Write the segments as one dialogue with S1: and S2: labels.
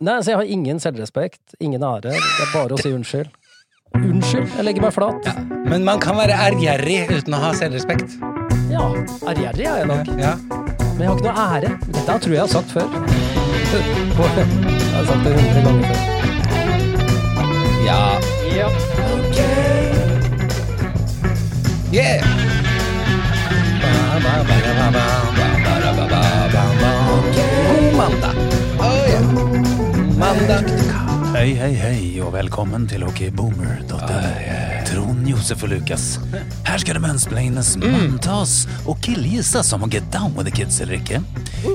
S1: Nei, altså jeg har ingen selvrespekt, ingen ære. Det er bare å si unnskyld. Unnskyld, jeg legger meg flat.
S2: Men man kan være ærgjerrig uten å ha selvrespekt.
S1: Ja, ærgjerrig er jeg nok,
S2: Ja.
S1: men jeg har ikke noe ære. Dette tror jeg jeg har sagt før. På- Jeg har sagt det hundre ganger før.
S2: ja.
S1: Ja.
S2: Yeah! God mandag. Oh, ja. Mandag.
S3: Hei, hei, hei, og velkommen til okboomer.no. Trond Josef og Lukas. Her skal det mansplaines, manntas og killgissas om å get down with the kids eller ikke.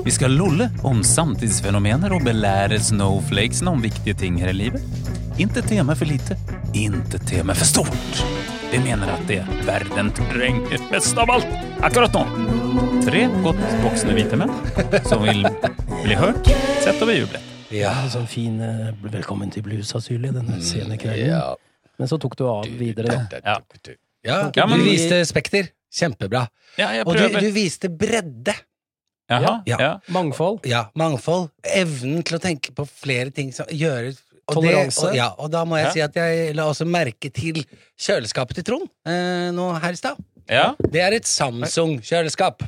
S3: Vi skal lolle om samtidsfenomener og belære snowflakesene om viktige ting her i livet. Inte tema for lite, inte tema for stort. Vi mener at det verden trenger best av alt akkurat nå. Tre godt voksne hvite menn som vil bli hørt, sett og bejublet.
S2: Ja.
S1: Sånn fin eh, velkommen til bluesasyl i denne sene kvelden.
S2: Ja.
S1: Men så tok Mm, du av videre, da.
S3: Ja.
S2: ja,
S3: Ja, men
S2: du
S3: vi-
S2: viste spekter. Kjempebra.
S3: Ja, jeg
S2: Og du,
S3: prøver.
S2: du viste bredde.
S3: Jaha,
S2: Ja.
S3: ja.
S1: Mangfold.
S2: Ja, mangfold. Evnen til å tenke på flere ting som gjøre og
S1: Toleranse.
S2: Det, og, ja, og da må jeg
S3: Ja.
S2: si at jeg la også merke til kjøleskapet til Trond eh, nå her i stad.
S3: Ja.
S2: Det er et Samsung-kjøleskap.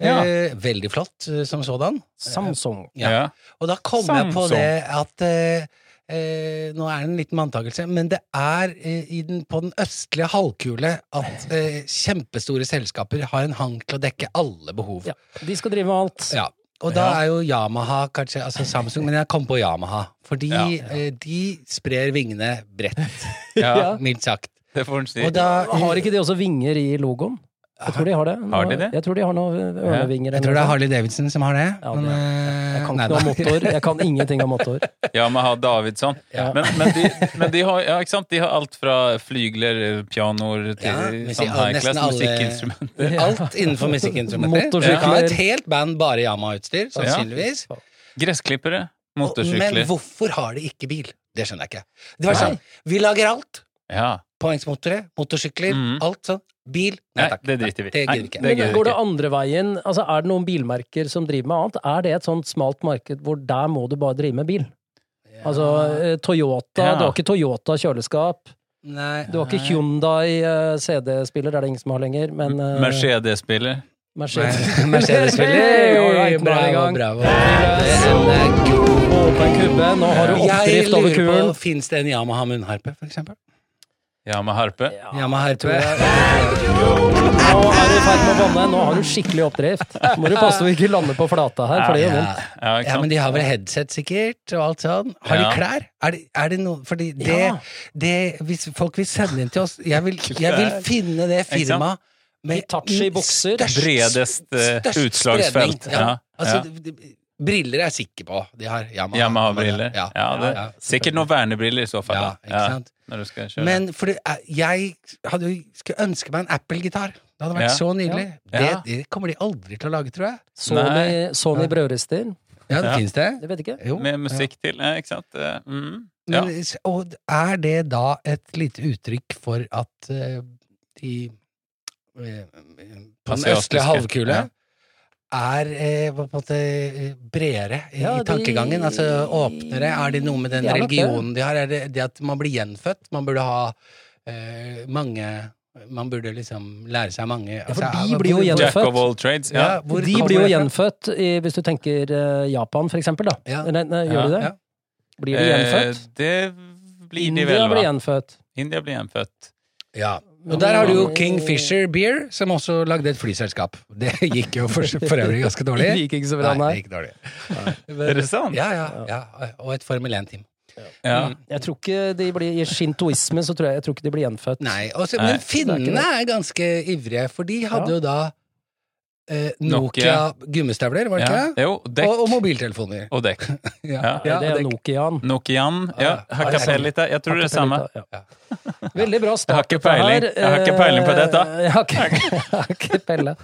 S3: Ja.
S2: Eh, veldig flott eh, som sådan.
S1: Samsung.
S3: Ja.
S2: Ja. Og da kom jeg på
S3: Samsung.
S2: det at eh, eh, Nå er det en liten antakelse, men det er eh, i den, på den østlige halvkule at eh, kjempestore selskaper har en hang til å dekke alle behov.
S1: Ja. De skal drive med alt.
S2: Ja. Og da
S3: Ja.
S2: er jo Yamaha kanskje Altså Samsung, men jeg kom på Yamaha. Fordi
S3: Ja.
S2: eh, de sprer vingene bredt,
S1: Ja.
S2: mildt sagt.
S3: Det får en si.
S2: Og da
S1: Har ikke de også vinger i logoen? Jeg tror de har det.
S3: Har de det?
S1: Jeg tror de har eh, noen ørnevinger.
S2: Jeg tror det er Harley Davidson som har det.
S1: Ja,
S2: men,
S1: det-
S2: eh,
S1: Jeg kan
S2: nei
S1: ikke noe om
S2: da.
S1: motor. Jeg kan ingenting om motor.
S3: Yamaha Davidsson.
S1: Ja.
S3: Men, men, de, men de, har, ja, ikke sant? de har alt fra flygler, eh, pianoer til
S2: Ja, men si-
S3: sånn
S2: ja,
S3: high-class
S2: nesten alle-
S3: musikkinstrumenter.
S2: Alt innenfor musikkinstrumenter.
S1: Motorsykler.
S2: Du kan ha et helt band bare Yamaha-utstyr, sannsynligvis.
S3: Gressklippere,
S2: Og- Men
S3: motorsykler.
S2: hvorfor har de ikke bil? Det skjønner jeg ikke. Det var sånn, Vi lager alt.
S3: Ja.
S2: Påhengsmotorer, motorsykler,
S3: Mhm.
S2: alt sånn. Bil. Nei
S3: Nei,
S2: takk.
S3: det driter vi i.
S2: Det
S3: Nei,
S2: gidder vi ikke.
S3: det-
S1: Men
S3: gøy,
S1: går det
S3: ikke.
S1: andre veien? Altså, er det noen bilmerker som driver med annet? Er det et sånt smalt marked hvor der må du bare drive med bil? Altså eh, Toyota
S3: Ja.
S1: Du har ikke Toyota kjøleskap.
S2: Nei.
S1: Du har ikke Hyundai eh, CD-spiller, det er det ingen som har lenger, men
S2: Øh.
S1: eh,
S3: Mercedes-biler.
S1: Mercedes.
S2: Nei. Mercedes-spiller.
S1: All right, nå er vi i
S2: bravo,
S1: gang.
S2: bravo.
S1: Det er god åpen kubbe. Nå har du
S2: Jeg
S1: oppdrift over
S2: lurer
S1: kulen.
S2: på, fins det en Yamaha munnharpe, for eksempel?
S3: Yamaha Harpe.
S1: Ah,
S2: Yamaha harpe.
S1: Nå er du i ferd med å banne. Nå har du skikkelig oppdrift. Må du passe så du ikke lander på flata her, for det gjør
S2: Ja.
S1: vondt.
S3: Ja, ikke
S2: Ja, men
S3: sant?
S2: de har vel headset sikkert, og alt sånn. Har de
S3: Ja.
S2: klær? Er det, er det noe Fordi det,
S1: Ja.
S2: det Hvis folk vil sende inn til oss Jeg vil, jeg vil finne det
S3: Ikke sant?
S2: firmaet med
S1: Hitachi bukser.
S2: størst-
S3: Bredest eh,
S2: størst
S3: utslagsfelt.
S2: spredning.
S3: Ja. Ja.
S2: Altså, d- d- briller er jeg sikker på. De har Yamaha.
S3: Yamaha-briller.
S2: Ja.
S3: Ja, det-
S2: Ja, ja.
S3: sikkert noen vernebriller i så fall.
S2: Ja,
S3: da.
S2: ikke sant?
S3: Når du skal kjøre.
S2: Men for det, er- jeg hadde, jo- skulle ønske meg en Apple-gitar. Det hadde vært
S3: Ja.
S2: så nydelig.
S3: Ja.
S2: Det, det kommer de aldri til å lage, tror jeg.
S1: Sony,
S3: Nei.
S1: Sony brødrister.
S2: Ja, det
S3: Ja.
S2: finnes det.
S1: Jeg vet ikke.
S2: Jo.
S3: Med musikk til, ja, ikke sant? Eh, Mm.
S2: Ja.
S3: Ja.
S2: Men, s- og er det da et lite uttrykk for at eh, de eh, På den
S3: Asiatiske.
S2: østlige halvkule
S3: Ja.
S2: er eh, på en måte eh, bredere i,
S1: Ja,
S2: i tankegangen?
S1: de-
S2: Altså åpnere? Er det noe med den
S1: Ja, nok det.
S2: religionen de har? Er det det at man blir gjenfødt? Man burde ha eh, mange Man burde liksom lære seg mange
S1: for
S2: altså,
S1: de
S2: er-
S1: blir jo
S2: hvor-
S1: gjenfødt.
S3: Jack of all trades. Ja.
S2: Ja, hvor
S1: De
S2: kommer
S1: blir jo
S2: det fra?
S1: gjenfødt, i, hvis du tenker eh, Japan, for eksempel. Da.
S2: Ja.
S1: Nei, nei, gjør
S3: Ja,
S1: de det?
S2: ja.
S1: Blir de gjenfødt?
S3: Eh, det blir de
S1: India
S3: vel,
S1: blir
S3: va?
S1: gjenfødt.
S3: India blir gjenfødt.
S2: Ja. Og der har du jo Kingfisher Beer, som også lagde et flyselskap. Det gikk jo for, for øvrig ganske dårlig.
S1: Det gikk ikke så bra,
S2: nei.
S1: nei.
S2: Det gikk dårlig.
S3: Er det sant?
S2: Ja, ja, ja. Og et Formel 1-team.
S3: Ja.
S2: Mm.
S1: Jeg tror ikke de blir I shintoisme så tror jeg, jeg tror ikke de blir gjenfødt.
S2: Nei, og så-
S3: Nei.
S2: Men finnene er ganske ivrige, for de hadde
S1: Ja.
S2: jo da eh, Nokia
S3: Nokia.
S2: gummistøvler, var det
S3: Ja.
S2: ikke?
S3: Jo, dekk
S2: Og, og mobiltelefoner.
S3: og dekk. Ja.
S1: Nei, det er
S2: det-
S1: Nokian.
S3: Nokian. Ja,
S2: Ja,
S3: Hakkapellita. Jeg tror det er det samme.
S1: Ja. Veldig bra start.
S3: Jeg har ikke
S1: dette her.
S3: peiling. Jeg har ikke peiling på dette.
S1: Eh, Jeg har ikke, jeg har ikke pelle.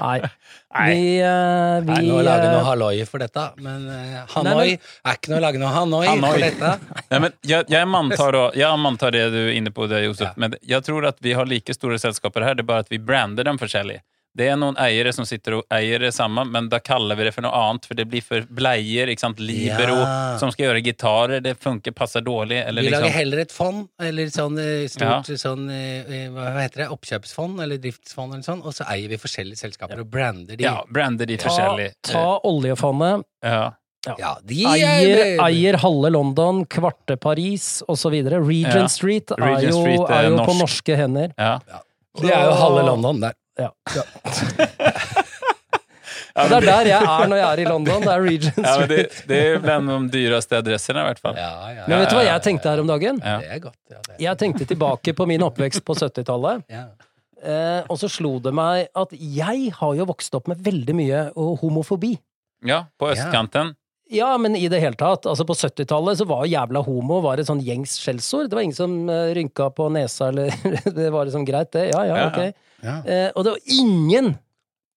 S1: Nei. Vi, eh, vi
S2: Nei, nå lager
S1: eh,
S2: noe halloi for dette, men eh, Hanoi
S1: Nei,
S2: er ikke noe å lage noe Hanoi,
S3: Hanoi.
S2: for dette.
S3: Nei, men jeg, jeg, manntar, og- jeg manntar det du er inne på, det, Josef,
S2: Ja.
S3: men jeg tror at vi har like store selskaper her, det er bare at vi brander dem forskjellig. Det er noen eiere som sitter og eier det samme, men da kaller vi det for noe annet, for det blir for bleier, ikke sant, libero,
S2: Ja.
S3: som skal gjøre gitarer, det funker, passer dårlig, eller
S2: vi lager
S3: liksom
S2: heller et fond, eller sånn eh, stort sånn, eh, hva heter det, oppkjøpsfond eller driftsfond eller sånn, og så eier vi forskjellige selskaper og brander de.
S3: Ja, brander de
S1: Ta,
S3: forskjellig. Eh,
S1: ta oljefondet,
S3: Ja.
S2: Ja, de
S1: eier,
S2: bra-
S1: eier halve London, kvarte Paris osv. Regent
S3: Ja.
S1: Street er
S3: Regent
S1: jo,
S3: Street er
S1: er jo på
S3: norsk.
S1: norske hender.
S3: Ja.
S2: Det er jo halve London der.
S1: Ja. Og det er der jeg er når jeg er i London. Det er Regent
S3: ja, men
S1: Street.
S3: det, det er blant de dyreste adressene, i hvert fall.
S2: Ja, ja,
S1: Men vet du hva
S3: ja,
S1: jeg tenkte her om dagen?
S3: Ja.
S2: Det er godt. Ja, det.
S1: Jeg tenkte tilbake på min oppvekst på 70-tallet.
S2: Ja.
S1: Eh, og så slo det meg at jeg har jo vokst opp med veldig mye eh, homofobi.
S3: Ja, på østkanten.
S1: Ja, men i det hele tatt. Altså På 70-tallet så var jævla homo var et sånn gjengs skjellsord. Det var ingen som eh, rynka på nesa, eller Det var liksom greit, det. Ja, ja,
S3: Ja,
S1: ok.
S2: Ja.
S1: Eh, og det var ingen,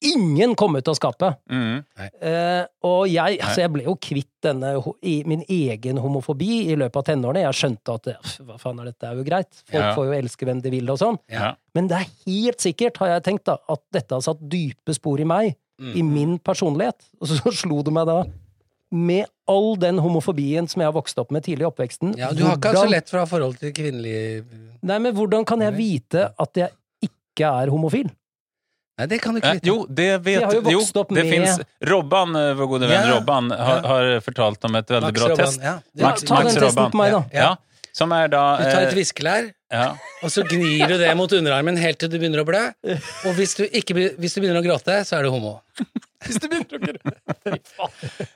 S1: ingen kom ut av skapet.
S3: Mm.
S1: Eh, og jeg, altså, jeg ble jo kvitt denne, ho- i, min egen homofobi i løpet av tenårene. Jeg skjønte at pff, hva faen er dette, det er jo greit. Folk
S3: Ja.
S1: får jo elske hvem de vil og sånn.
S3: Ja.
S1: Men det er helt sikkert, har jeg tenkt, da, at dette har satt dype spor i meg,
S2: Mm.
S1: i
S2: Mhm.
S1: min personlighet. Og så slo det meg da, med all den homofobien som jeg har vokst opp med tidlig i oppveksten
S2: ja, du har ikke hatt så
S1: hvordan-
S2: lett for å ha forhold til kvinnelige
S1: Nei, men hvordan kan jeg vite at jeg ikke er homofil?
S2: Nei, det kan du ikke
S3: Eh,
S2: vite.
S3: jo, det vet
S1: Jeg har jo
S3: jo,
S1: vokst opp
S3: det
S1: med-
S3: finnes Robban, eh, vår gode venn
S2: Ja.
S3: Robban, har,
S2: Ja.
S3: har fortalt om et veldig
S2: Max
S3: bra
S2: Robban,
S3: test.
S2: Ja. Du,
S1: Ja, ta den testen på meg, da.
S3: Ja. Ja. Som er da
S2: du tar
S3: eh,
S2: et viskelær,
S3: ja.
S2: og så gnir du det mot underarmen helt til du begynner å blø. Og hvis du, ikke, be- hvis du begynner å gråte, så er du homo.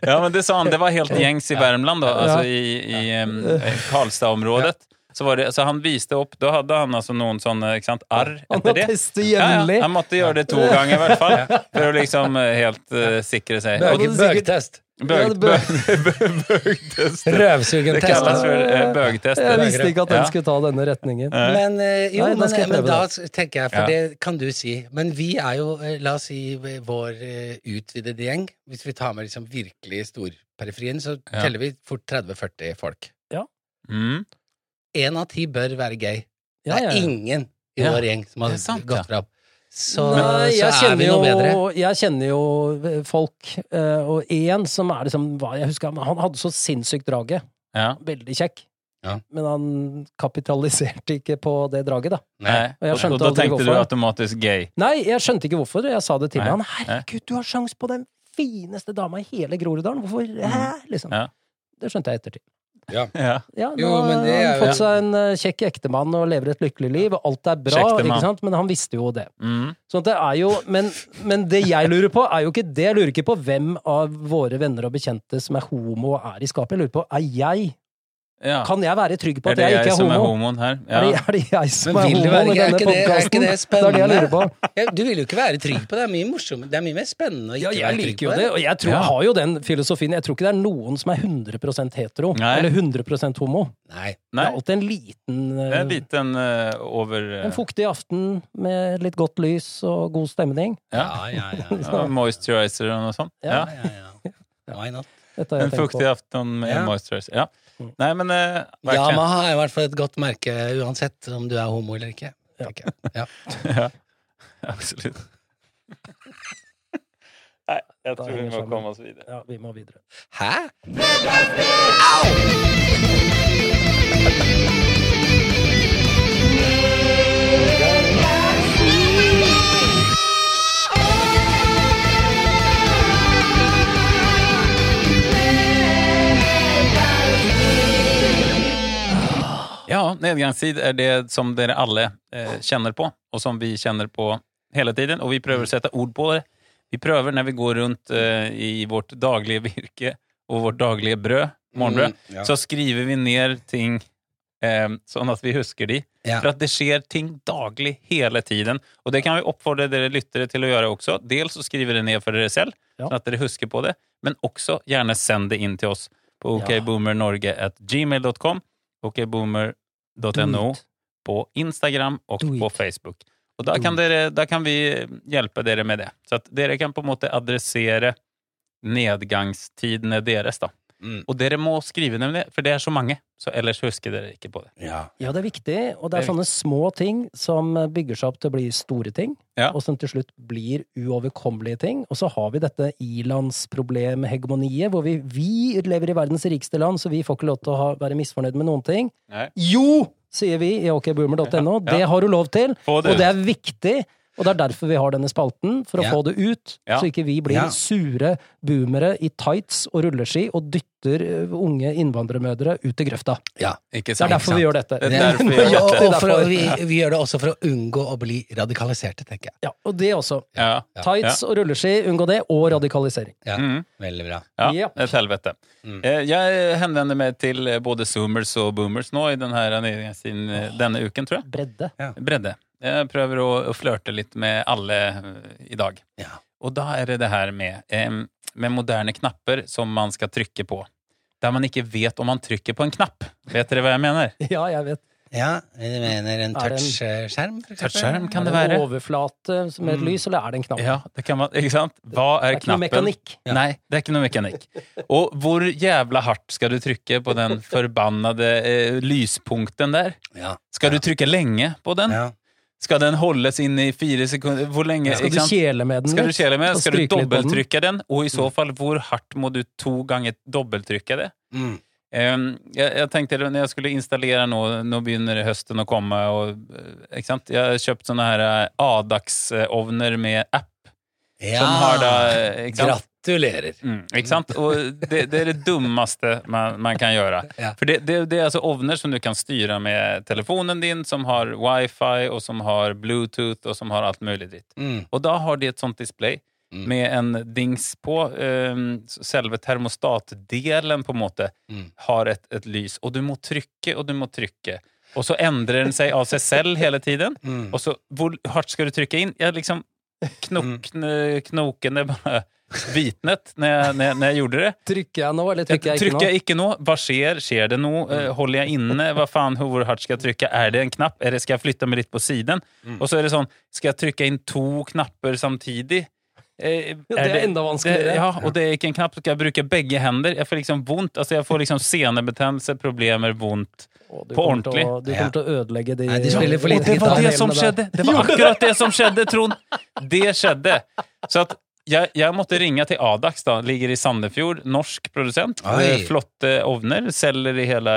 S3: ja, men det sa han. Det var helt gjengs i Värmland, da. Altså i, i em, eh, Karlstad-området. Så, var det, så han viste opp Da hadde han altså noen sånne ikke sant, arr
S1: Han må
S3: etter det.
S1: teste
S3: Ja,
S1: jevnlig.
S3: ja. Han måtte gjøre det to ganger, i hvert fall. For å liksom eh, helt eh, sikre seg.
S1: Ja,
S3: Og
S1: det er sikkert-
S2: Bøgtest.
S3: bøg-
S1: Ja,
S3: bøg- bøgtest.
S2: Røvsugen
S3: Det kalles
S2: test.
S3: for eh, bøgtest.
S1: Jeg visste ikke at den
S3: Ja.
S1: skulle ta denne retningen.
S2: Men eh, jo,
S1: Nei, da
S2: men,
S1: skal jeg
S2: men
S1: prøve
S2: da
S1: det.
S2: s- tenker jeg, for
S3: Ja.
S2: det kan du si Men vi er jo, eh, la oss si, v- vår eh, utvidede gjeng. Hvis vi tar med liksom virkelig storperiferien, så
S3: Ja.
S2: teller vi fort 30-40 folk.
S3: Mm.
S2: Én av ti bør være gay.
S1: Ja, ja, ja.
S2: Det er ingen i
S3: Ja,
S2: vår gjeng som har
S3: det er sant, ja.
S2: gått fra opp. Så,
S1: Nei, jeg,
S2: så er
S1: kjenner
S2: vi noe bedre.
S1: jo, jeg kjenner jo folk, eh, og én som er liksom hva jeg husker, han- Han hadde så sinnssykt draget.
S3: Ja.
S1: Veldig kjekk.
S2: Ja.
S1: Men han kapitaliserte ikke på det draget, da.
S2: Nei.
S1: Og jeg
S3: Og,
S1: skjønte
S3: og da
S1: aldri
S3: tenkte du
S1: hvorfor.
S3: automatisk gay.
S1: Nei, jeg skjønte ikke hvorfor. og Jeg sa det til
S3: Nei.
S1: ham. Herregud, du har sjans på den fineste dama i hele Groruddalen! Hvorfor hæ? Liksom.
S3: Mm. Ja.
S1: Det skjønte jeg i ettertid.
S3: Ja.
S1: Ja, nå
S2: Jo, men det
S1: har han
S2: er jo-
S1: fått seg en eh, kjekk ektemann og lever et lykkelig liv, og alt er bra,
S3: Kjektemann.
S1: ikke sant? men han visste jo det.
S3: Mm.
S1: Sånn at det er jo, men, men det jeg lurer på, er jo ikke det. Jeg lurer ikke på hvem av våre venner og bekjente som er homo og er i skapet. Jeg lurer på, er jeg,
S3: Ja.
S1: Kan jeg være trygg på
S3: Er
S1: at
S3: det
S1: jeg
S3: jeg
S1: ikke er
S3: som er
S1: homo?
S3: homoen her?
S1: Er,
S3: Ja.
S1: det, er det jeg som
S2: Men
S1: er
S2: vil du
S1: homo
S2: være-
S1: i
S2: er
S1: denne
S2: ikke det- er ikke
S1: podkasten?
S2: det
S1: Det er det jeg lurer på.
S2: Ja, du vil jo ikke være trygg på det. Det er mye morsommere. Det er mye mer spennende å ikke
S1: Ja, jeg
S2: være trygg
S1: liker jo
S2: på
S1: det, og jeg, tror,
S3: Ja.
S1: jeg har jo den filosofien. Jeg tror ikke det er noen som er 100 hetero,
S3: Nei.
S1: eller 100 homo.
S2: Nei.
S3: Nei.
S1: Det er alltid en liten
S3: Det
S1: eh,
S3: er en liten eh, over eh,
S1: En fuktig aften med litt godt lys og god stemning.
S3: ja.
S2: ja,
S3: Ja, moisturizer og noe sånt.
S1: Ja.
S3: Ja.
S2: ja, ja. Why not?
S1: Dette har
S3: En
S1: jeg tenkt på. Mm.
S3: fuktig aften med
S2: Ja.
S3: moisturizer. Ja. Nei, men eh, verkligen.
S2: Yamaha er i hvert fall et godt merke uansett om du er homo eller ikke. tenker jeg. Ja.
S3: Ja. Absolutt. Nei, jeg tror vi må komme oss videre.
S1: Ja, vi må videre.
S2: Hæ?
S3: Ja, nedgangstid er det som dere alle eh, kjenner på, og som vi kjenner på hele tiden. Og vi prøver å sette ord på det. Vi prøver når vi går rundt eh, i vårt daglige virke og vårt daglige brød, morgenbrød,
S2: Mm, ja.
S3: så skriver vi ned ting eh, sånn at vi husker de.
S2: Ja.
S3: For at det skjer ting daglig hele tiden. Og det kan vi oppfordre dere lyttere til å gjøre også. Dels å skrive det ned for dere selv,
S1: Ja.
S3: sånn at dere husker på det. Men også gjerne send det inn til oss på
S1: Ja.
S3: okboomernorge.gmail.com, okboomer.no på Instagram og
S1: Do it.
S3: på Facebook. Og da
S1: Do
S3: kan, dere, da kan vi hjelpe dere med det. Så at dere kan på en måte adressere nedgangstidene deres, da.
S2: Mm.
S3: Og dere må skrive ned det, for det er så mange. Så ellers husker dere ikke på det.
S2: Ja.
S1: Ja, det er viktig, og det er
S3: Det er
S1: sånne små ting som bygger seg opp til å bli store ting,
S3: Ja.
S1: og som til slutt blir uoverkommelige ting. Og så har vi dette ilandsproblemhegemoniet, hvor vi, vi lever i verdens rikeste land, så vi får ikke lov til å ha, være misfornøyd med noen ting.
S3: Nei.
S1: Jo, sier vi i okboomer.no.
S3: Ja, ja.
S1: Det har du lov til,
S3: Få det
S1: og det er viktig. Og det er derfor vi har denne spalten, for å
S2: Ja.
S1: få det ut.
S3: Ja.
S1: Så ikke vi blir
S2: Ja.
S1: sure boomere i tights og rulleski og dytter eh, unge innvandrermødre ut i grøfta.
S2: ja.
S3: Ikke
S1: Det
S3: sant?
S1: er derfor vi gjør dette.
S3: Det er derfor vi gjør
S2: Ja,
S3: dette.
S2: og for, å- vi, vi gjør det også for å unngå å bli radikaliserte, tenker jeg.
S1: Ja, og det også.
S3: Ja.
S1: Tights og rulleski, unngå det, og radikalisering.
S2: Ja.
S3: Mm.
S2: Veldig bra.
S3: Ja,
S1: Japp.
S3: et helvete.
S2: Mm.
S3: Eh, Jeg henvender meg til eh, både zoomers og boomers nå i den her anledningen sin, eh, denne uken, tror jeg.
S1: Bredde.
S3: Bredde. Jeg prøver å, å flørte litt med alle eh, i dag.
S2: Ja.
S3: Og da er det det her med, eh, med moderne knapper som man skal trykke på. Der man ikke vet om man trykker på en knapp. Vet dere hva jeg mener?
S1: Ja, jeg vet.
S2: Ja, du mener en
S1: Er det en-
S2: touchskjerm? for eksempel?
S3: Touchskjerm kan
S1: er det
S3: det være.
S1: overflate med et
S3: Mm.
S1: lys, eller er det en knapp?
S3: Ja, det kan man, ikke sant? Hva
S1: det
S3: er,
S1: er ikke noe
S3: knappen?
S1: mekanikk.
S2: Ja.
S3: Nei, det er ikke noe mekanikk. Og hvor jævla hardt skal du trykke på den forbannede eh, lyspunkten der?
S2: Ja.
S3: Skal du trykke lenge på den?
S2: ja.
S3: Skal den holdes inne i fire sekunder? Hvor lenge?
S1: Skal du
S3: ikke sant?
S1: kjele med den
S3: Skal du
S1: litt?
S3: kjele med?
S1: Og
S3: Skal du
S1: stryke litt på den? Mm.
S3: dobbelttrykke den? Og i så fall, hvor hardt må du to ganger dobbelttrykke det?
S2: Mm.
S3: Ehm, jeg, jeg tenkte det når jeg skulle installere nå, nå begynner høsten å komme og, eh, ikke sant? Jeg har kjøpt sånne her eh, Adax-ovner med app
S2: ja.
S3: som har da eh, ikke sant?
S2: Gratulerer.
S3: Mm, ikke sant? Og det, det er det dummeste man, man kan gjøre.
S2: Ja.
S3: For det, det, det er altså ovner som du kan styre med telefonen din, som har wifi, og som har Bluetooth, og som har alt mulig dritt.
S2: Mm.
S3: Og da har de et sånt display
S2: Mm.
S3: med en dings på. ehm, s- selve termostatdelen på en måte
S2: Mm.
S3: har et, et lys, og du må trykke og du må trykke. Og så endrer den seg av seg selv hele tiden.
S2: Mm.
S3: Og så hvor hardt skal du trykke inn? Jeg liksom knok,
S1: Mm.
S3: kn- knokene bare hvitnet når jeg, når, jeg, når jeg gjorde det.
S1: Trykker jeg nå, eller
S3: Jeg,
S1: trykker jeg ikke
S3: trykker
S1: nå?
S3: jeg ikke nå? Hva skjer? Skjer det noe? Eh, Holder jeg inne? Hva faen, hvor hardt skal jeg trykke? Er det en knapp? Eller skal jeg flytte meg litt på siden?
S2: Mm.
S3: Og så er det sånn, skal jeg trykke inn to knapper samtidig? Eh,
S1: Ja, det er enda vanskeligere.
S3: Det, ja, og det er ikke en knapp. Skal jeg bruke begge hender? Jeg får liksom vondt. Altså, jeg får liksom senebetennelse, problemer, vondt.
S1: Å, du
S3: På
S1: kommer til å-
S3: ordentlig.
S1: Du kommer til å ødelegge de
S2: Nei, de spiller for
S1: Og
S2: lite
S3: Det var det
S1: gitarpanelene
S3: som
S1: der.
S3: skjedde! Det var akkurat det som skjedde, Trond! Det skjedde. Så at jeg, jeg måtte ringe til Adax, da. Ligger i Sandefjord. Norsk produsent.
S2: Oi.
S3: Eh, Flotte ovner. Selger i hele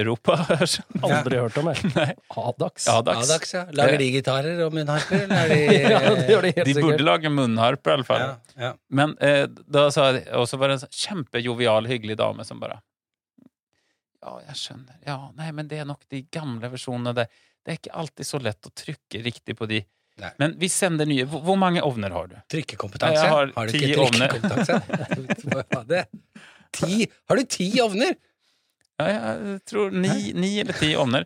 S3: Europa.
S1: Aldri hørt om, jeg. Adax.
S3: Adax.
S2: Adax, ja. Lager de gitarer og munnharper, eller er
S1: Ja,
S2: de
S1: det gjør de helt
S3: De burde
S1: sikkert.
S3: lage munnharper, i alle fall.
S2: Ja, ja.
S3: Men eh, da sa jeg Og så var det en sånn kjempejovial, hyggelig dame som bare Ja, jeg skjønner. Ja, nei, men det er nok de gamle versjonene der. Det er ikke alltid så lett å trykke riktig på de.
S2: Nei.
S3: Men vi sender nye. Hvor, hvor mange ovner har du?
S2: Trykkekompetanse?
S3: Jeg har
S2: du
S3: ti
S2: ikke
S3: ovner.
S2: trykkekompetanse? Hva var det? Ti? Har du ti ovner?
S3: Ja, jeg tror ni, ni eller ti ovner.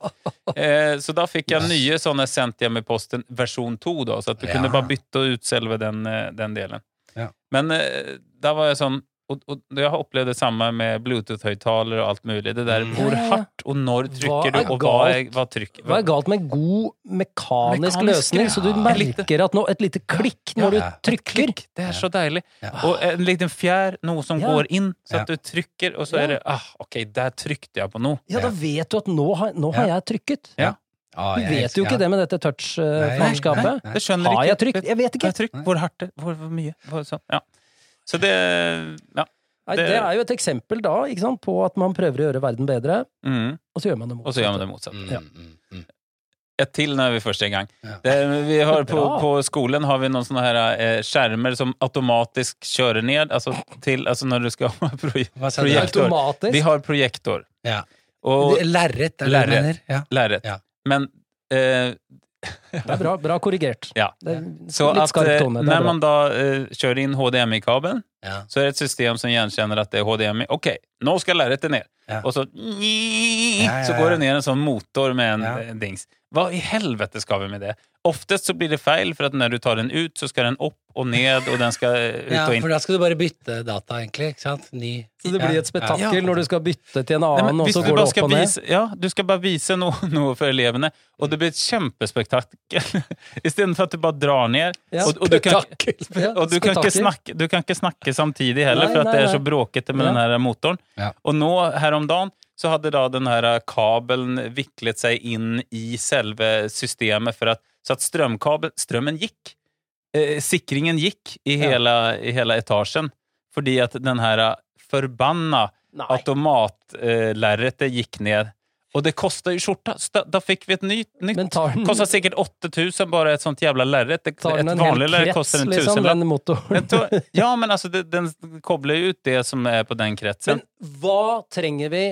S3: Eh, så da fikk jeg nye sånne sendte jeg med posten versjon 2, da, så at du
S2: Ja.
S3: kunne bare bytte ut selve den, eh, den delen.
S2: Ja.
S3: Men eh, da var jeg sånn og, og jeg har opplevd det samme med Bluetooth-høyttalere og alt mulig. Det der
S2: Mm.
S3: hvor
S1: Ja, ja, ja.
S3: hardt og når
S1: Hva
S3: trykker du,
S1: er
S3: og hva er, hva trykker
S1: Hva er galt med god mekanisk,
S3: Mekanisk,
S1: løsning,
S3: ja.
S1: så du
S3: Et lite-
S1: merker at nå, et lite klikk når
S2: Ja.
S1: du trykker?
S3: Klikk! Det er så deilig.
S2: Ja.
S3: Og en liten fjær, noe som
S1: Ah. Ja.
S3: går inn, så
S2: Ja.
S3: at du trykker, og så
S1: Ja.
S3: er det ah, OK, der trykte jeg på noe.
S1: Ja, da vet du at nå har, nå har jeg trykket.
S3: Ja.
S2: Ah,
S1: Du
S2: jeg-
S1: vet jo ikke
S2: ja.
S1: det med dette
S2: Nei, nei,
S1: touch-faenskapet.
S2: nei.
S3: Det skjønner
S1: Har
S3: ikke.
S1: jeg trykt? Jeg vet
S3: Har
S1: ikke.
S3: jeg trykt? Hvor hardt det? Hvor, hvor mye? Hvor, sånn. ja. Så det Ja.
S1: Nei,
S3: Det-
S1: det er jo et eksempel da, ikke sant, på at man prøver å gjøre verden bedre,
S3: Mm.
S1: og så gjør man det
S3: Og så gjør man
S1: motsatte.
S3: det motsatt.
S2: Mm,
S3: Ja.
S2: mm, mm.
S3: Ett til når vi først er i gang.
S2: Ja.
S3: Det, vi har på,
S1: Bra.
S3: på skolen har vi noen sånne her, eh, skjermer som automatisk kjører ned altså, til, altså når du skal ha proje-
S2: Hva sa du?
S3: projektor. Vi
S1: Automatisk.
S3: har projektor.
S2: Ja.
S3: Og
S2: Lerret, er det det du
S3: Lerret.
S2: mener? Ja.
S3: lerret.
S2: Ja.
S3: Men eh,
S1: Det er bra, bra korrigert.
S3: Ja.
S1: Det er
S3: så
S1: litt
S3: at
S1: skarp
S3: eh,
S1: tone. Det
S3: når
S1: er bra.
S3: man da eh, kjører inn HDMI-kabelen,
S2: Ja.
S3: så er det et system som gjenkjenner at det er HDMI. Ok, nå skal lerretet ned.
S2: Ja.
S3: Og så
S2: ja, ja.
S3: Så går det ned en sånn motor med en
S2: Ja.
S3: eh, dings. Hva i helvete skal vi med det? Oftest så blir det feil, for at når du tar den ut, så skal den opp og ned, og den skal eh, ut
S2: Ja,
S3: og inn.
S2: for da skal du bare bytte data, egentlig. Ikke sant? Ny.
S1: Så det blir et
S2: Ja.
S1: spetakkel når du skal bytte til en
S3: Nei,
S1: annen,
S3: men
S1: og
S3: hvis
S1: så
S3: du
S1: går det
S3: bare
S1: opp
S3: skal
S1: og ned.
S3: vise, ja, du skal bare vise noe, noe for elevene, og det blir et kjempespektakkel. Istedenfor at du bare drar ned.
S1: Ja.
S3: Og, og, du kan,
S1: Ja,
S3: og du, kan ikke
S1: spetakkel.
S3: snakke, du kan ikke snakke samtidig heller,
S1: Nei,
S3: for at
S1: nei,
S3: det er så
S1: nei.
S3: bråkete med
S1: Ja.
S3: den her motoren.
S2: Ja.
S3: Og nå, her om dagen, så hadde da den her kabelen viklet seg inn i selve systemet, for at, så at strømkabel, strømmen gikk. Eh, sikringen gikk i
S1: Ja.
S3: hele, i hele etasjen, fordi at den her forbanna
S1: Nei.
S3: automatlerretet gikk ned. Og det kosta jo skjorta! Så da, da fikk vi et nytt. nytt.
S1: Men tar den,
S3: Kosta sikkert 8000 bare et sånt jævla lerret. Et
S1: tar den en hel
S3: vanlig lerret
S1: krets,
S3: koster en
S1: liksom,
S3: tusenlapp.
S1: den motoren?
S3: Jeg tror- Ja, men altså, det, den kobler jo ut det som er på den kretsen.
S1: Men hva trenger vi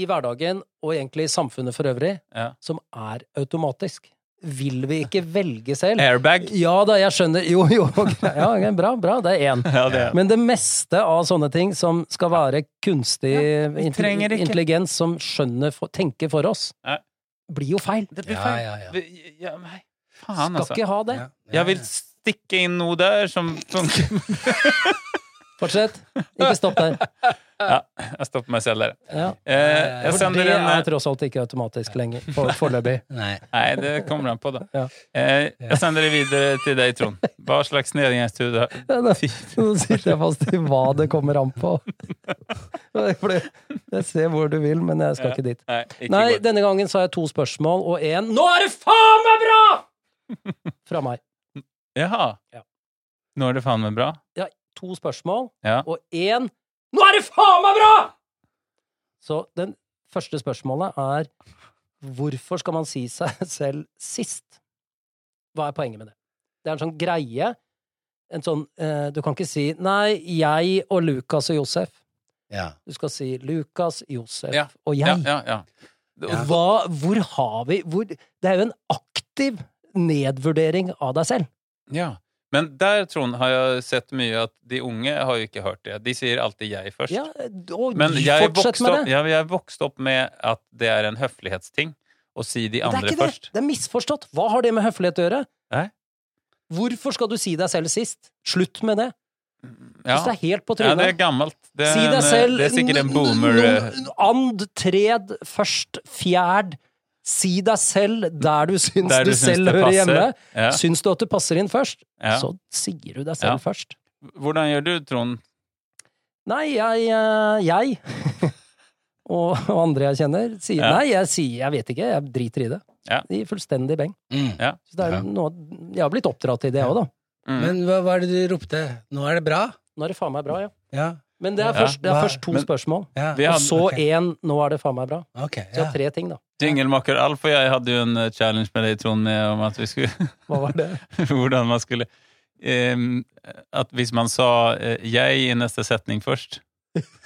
S1: i hverdagen, og egentlig i samfunnet for øvrig,
S3: Ja.
S1: som er automatisk? Vil vi ikke velge selv?
S3: Airbag.
S1: Ja da, jeg skjønner. Jo, jo, ok. ja, ok, bra, bra, det er én.
S3: Ja, det
S1: Men det meste av sånne ting som skal være kunstig
S3: trenger
S1: intelli-
S3: ikke.
S1: intelligens, som skjønner, for, tenker for oss,
S3: Ja.
S1: blir jo feil.
S3: Det blir
S2: Ja,
S3: feil.
S2: ja, ja.
S3: Vi- ja, nei. Faen,
S1: Skal
S3: altså.
S1: ikke ha det.
S2: Ja.
S3: Jeg vil stikke inn noe der som funker.
S1: Fortsett. Ikke stopp der.
S3: Ja, jeg stopper meg selv der.
S1: Ja.
S3: Eh, jeg
S1: For det
S3: sender en eh,
S1: er tross alt ikke automatisk lenger, for- foreløpig.
S2: Nei.
S3: Nei, det kommer an på, da.
S1: Ja.
S3: Eh, jeg sender det videre til deg, Trond. Hva slags nedgangstur du har
S1: Ja, da- Nå sitter jeg fast i hva det kommer an på. For det- Jeg ser hvor du vil, men jeg skal ikke dit.
S3: Nei, ikke
S1: Nei,
S3: godt.
S1: denne gangen så har jeg to spørsmål og én Nå er det faen meg bra! Fra meg.
S3: Jaha.
S1: Ja.
S3: Nå er det faen meg bra.
S1: Ja, to spørsmål
S3: Ja.
S1: og én Nå er det faen meg bra! Så den første spørsmålet er hvorfor skal man si seg selv sist? Hva er poenget med det? Det er en sånn greie. En sånn, eh, du kan ikke si 'nei, jeg og Lukas og Josef'.
S2: Ja.
S1: Du skal si 'Lukas, Josef
S3: Ja.
S1: og jeg'.
S3: Ja, ja, ja.
S2: Ja.
S1: Hva, hvor har vi hvor, Det er jo en aktiv nedvurdering av deg selv.
S3: ja. Men der, Trond, har jeg sett mye at de unge har jo ikke hørt det. De sier alltid 'jeg' først.
S1: Ja, og
S3: Men jeg
S1: fortsett
S3: vokste,
S1: med
S3: opp,
S1: det.
S3: ja, men jeg vokste opp med at det er en høflighetsting å si de
S1: Men
S3: andre
S1: det er ikke
S3: først.
S1: Det. det er misforstått. Hva har det med høflighet å gjøre?
S3: Nei.
S1: Hvorfor skal du si deg selv sist? Slutt med det.
S3: Ja.
S1: Hvis det er helt på
S3: ja, det er
S1: trynet.
S3: gammelt. Det er,
S1: si
S3: en,
S1: deg
S3: eh,
S1: selv
S3: det er sikkert en
S1: n-
S3: boomer eh,
S1: n- And, tred, først, fjerd. Si deg selv der du syns
S3: der
S1: du,
S3: du syns
S1: selv
S3: det
S1: hører hjemme.
S3: passer. eh, Ja,
S1: Syns du at du passer inn først,
S3: ja.
S1: så sier du deg selv først.
S3: Hvordan gjør du, Trond?
S1: Nei, jeg, eh, jeg og, og andre jeg kjenner, sier
S3: Ja.
S1: nei, jeg sier jeg vet ikke, jeg driter i det.
S3: Ja.
S1: De er fullstendig beng.
S2: Mm.
S1: Så det er
S2: Ja.
S1: noe, jeg har blitt oppdratt i det òg, da.
S3: Mm.
S2: Men hva var det du ropte? Nå er det bra?
S1: Nå er det faen meg bra, ja.
S2: Ja.
S1: Men det er
S3: Ja.
S1: først, det er
S2: Hva-
S1: først to
S3: Men-
S1: spørsmål.
S2: ja.
S3: Vi
S1: Og
S3: hadde,
S1: så
S2: ok.
S1: én 'nå er det faen meg bra'.
S2: Ok.
S1: Så jeg
S2: Ja.
S1: har tre ting, da.
S3: Jinglemaker Alf og jeg hadde jo en eh, challenge med deg, Trond, med om at vi skulle
S1: Hva var det?
S3: hvordan man skulle ehm, At hvis man sa eh, 'jeg' i neste setning først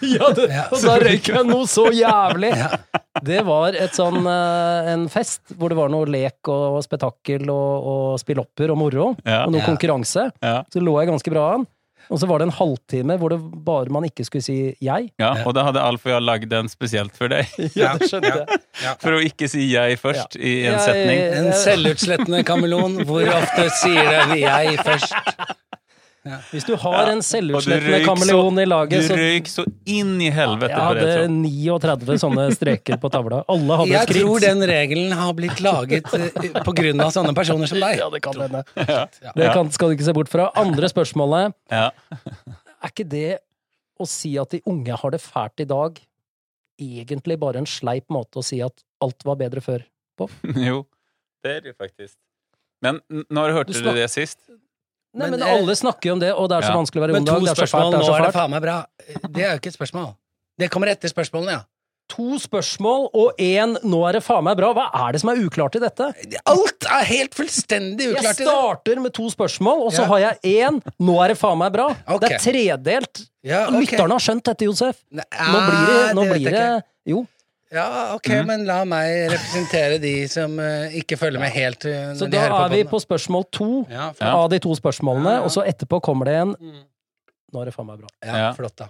S1: Ja, det,
S2: Ja.
S1: og da røyk jeg noe så jævlig!
S2: Ja.
S1: Det var et sånn, eh, en fest hvor det var noe lek og spetakkel og, og spillopper og moro,
S3: Ja.
S1: og noe
S2: Ja.
S1: konkurranse.
S3: Ja.
S1: Så lå jeg ganske bra an. Og så var det en halvtime hvor det bare man ikke skulle si 'jeg'.
S3: ja, Og da hadde Alf og jeg lagd den spesielt for deg.
S2: Ja, det
S1: skjønte jeg.
S3: For å ikke si 'jeg' først i en
S1: Jeg-
S3: setning.
S2: En selvutslettende kameleon. Hvor ofte sier den 'jeg' først?
S1: Hvis du har en
S3: Og du
S1: selvutslettende
S3: røyk
S1: kameleon i
S3: så,
S1: laget,
S3: du
S1: så
S3: røyk så inn i helvete
S1: Jeg
S3: på det,
S1: hadde
S3: Trond.
S1: 39 sånne streker på tavla. Alle hadde
S2: Jeg
S1: et
S2: tror
S1: skritt.
S2: den regelen har blitt laget eh, på grunn av sånne personer som deg.
S1: Ja, det kan hende.
S2: Ja.
S1: Det kan, skal du ikke se bort fra. Andre spørsmålet.
S3: Ja.
S1: Er ikke det å si at de unge har det fælt i dag, egentlig bare en sleip måte å si at alt var bedre før?
S3: Jo, det er det jo faktisk. Men n- når hørte
S1: Du
S3: du,
S1: snak-
S3: det sist?
S1: Nei,
S2: Men,
S1: men
S2: eh,
S1: alle snakker jo om det, og det er så
S3: ja.
S1: vanskelig å være
S2: Men
S1: ung dag.
S2: to
S1: Det er så fælt,
S2: spørsmål,
S1: det
S2: nå
S1: er
S2: er
S1: så
S2: det
S1: fælt.
S2: faen meg bra. Det er jo ikke et spørsmål. Det kommer etter spørsmålene, ja.
S1: To spørsmål og én 'nå er det faen meg bra'. Hva er det som er uklart i dette?
S2: Alt er helt fullstendig
S1: Jeg
S2: uklart i det.
S1: starter med to spørsmål, og så
S2: Ja.
S1: har jeg én 'nå er det faen meg bra'.
S2: Ok.
S1: Det er tredelt.
S2: Ja, ok.
S1: Lytterne har skjønt dette, Josef.
S2: Nei, ah,
S1: Nå blir det, nå
S2: vet
S1: blir
S2: jeg
S1: det Mhm.
S2: ikke.
S1: Jo.
S2: Ja, ok, men la meg representere de som eh, ikke følger med helt eh, når
S1: Så
S2: de
S1: da
S2: hører på
S1: er vi
S2: podden.
S1: på spørsmål to
S2: ja, flott.
S3: Ja.
S1: av de to spørsmålene,
S2: Ja, ja.
S1: og så etterpå kommer det en Nå er det faen meg bra.
S2: ja,
S3: Ja.
S2: flott, da.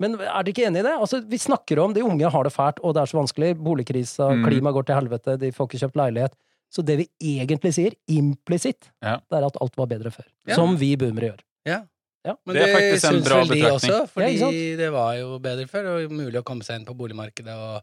S1: Men er dere ikke enig i det? Altså, vi snakker om de unge har det fælt, og det er så vanskelig. Boligkrisa,
S3: Mm.
S1: klimaet går til helvete, de får ikke kjøpt leilighet. Så det vi egentlig sier, implisitt,
S3: Ja.
S1: det er at alt var bedre før.
S2: Ja.
S1: Som vi boomere gjør.
S2: Men
S3: Det
S2: det,
S3: er faktisk en
S2: syns
S3: bra
S2: vel de
S3: betraktning.
S2: også,
S1: Ja,
S2: fordi
S1: ikke
S2: det var jo bedre før, og mulig å komme seg inn på boligmarkedet og,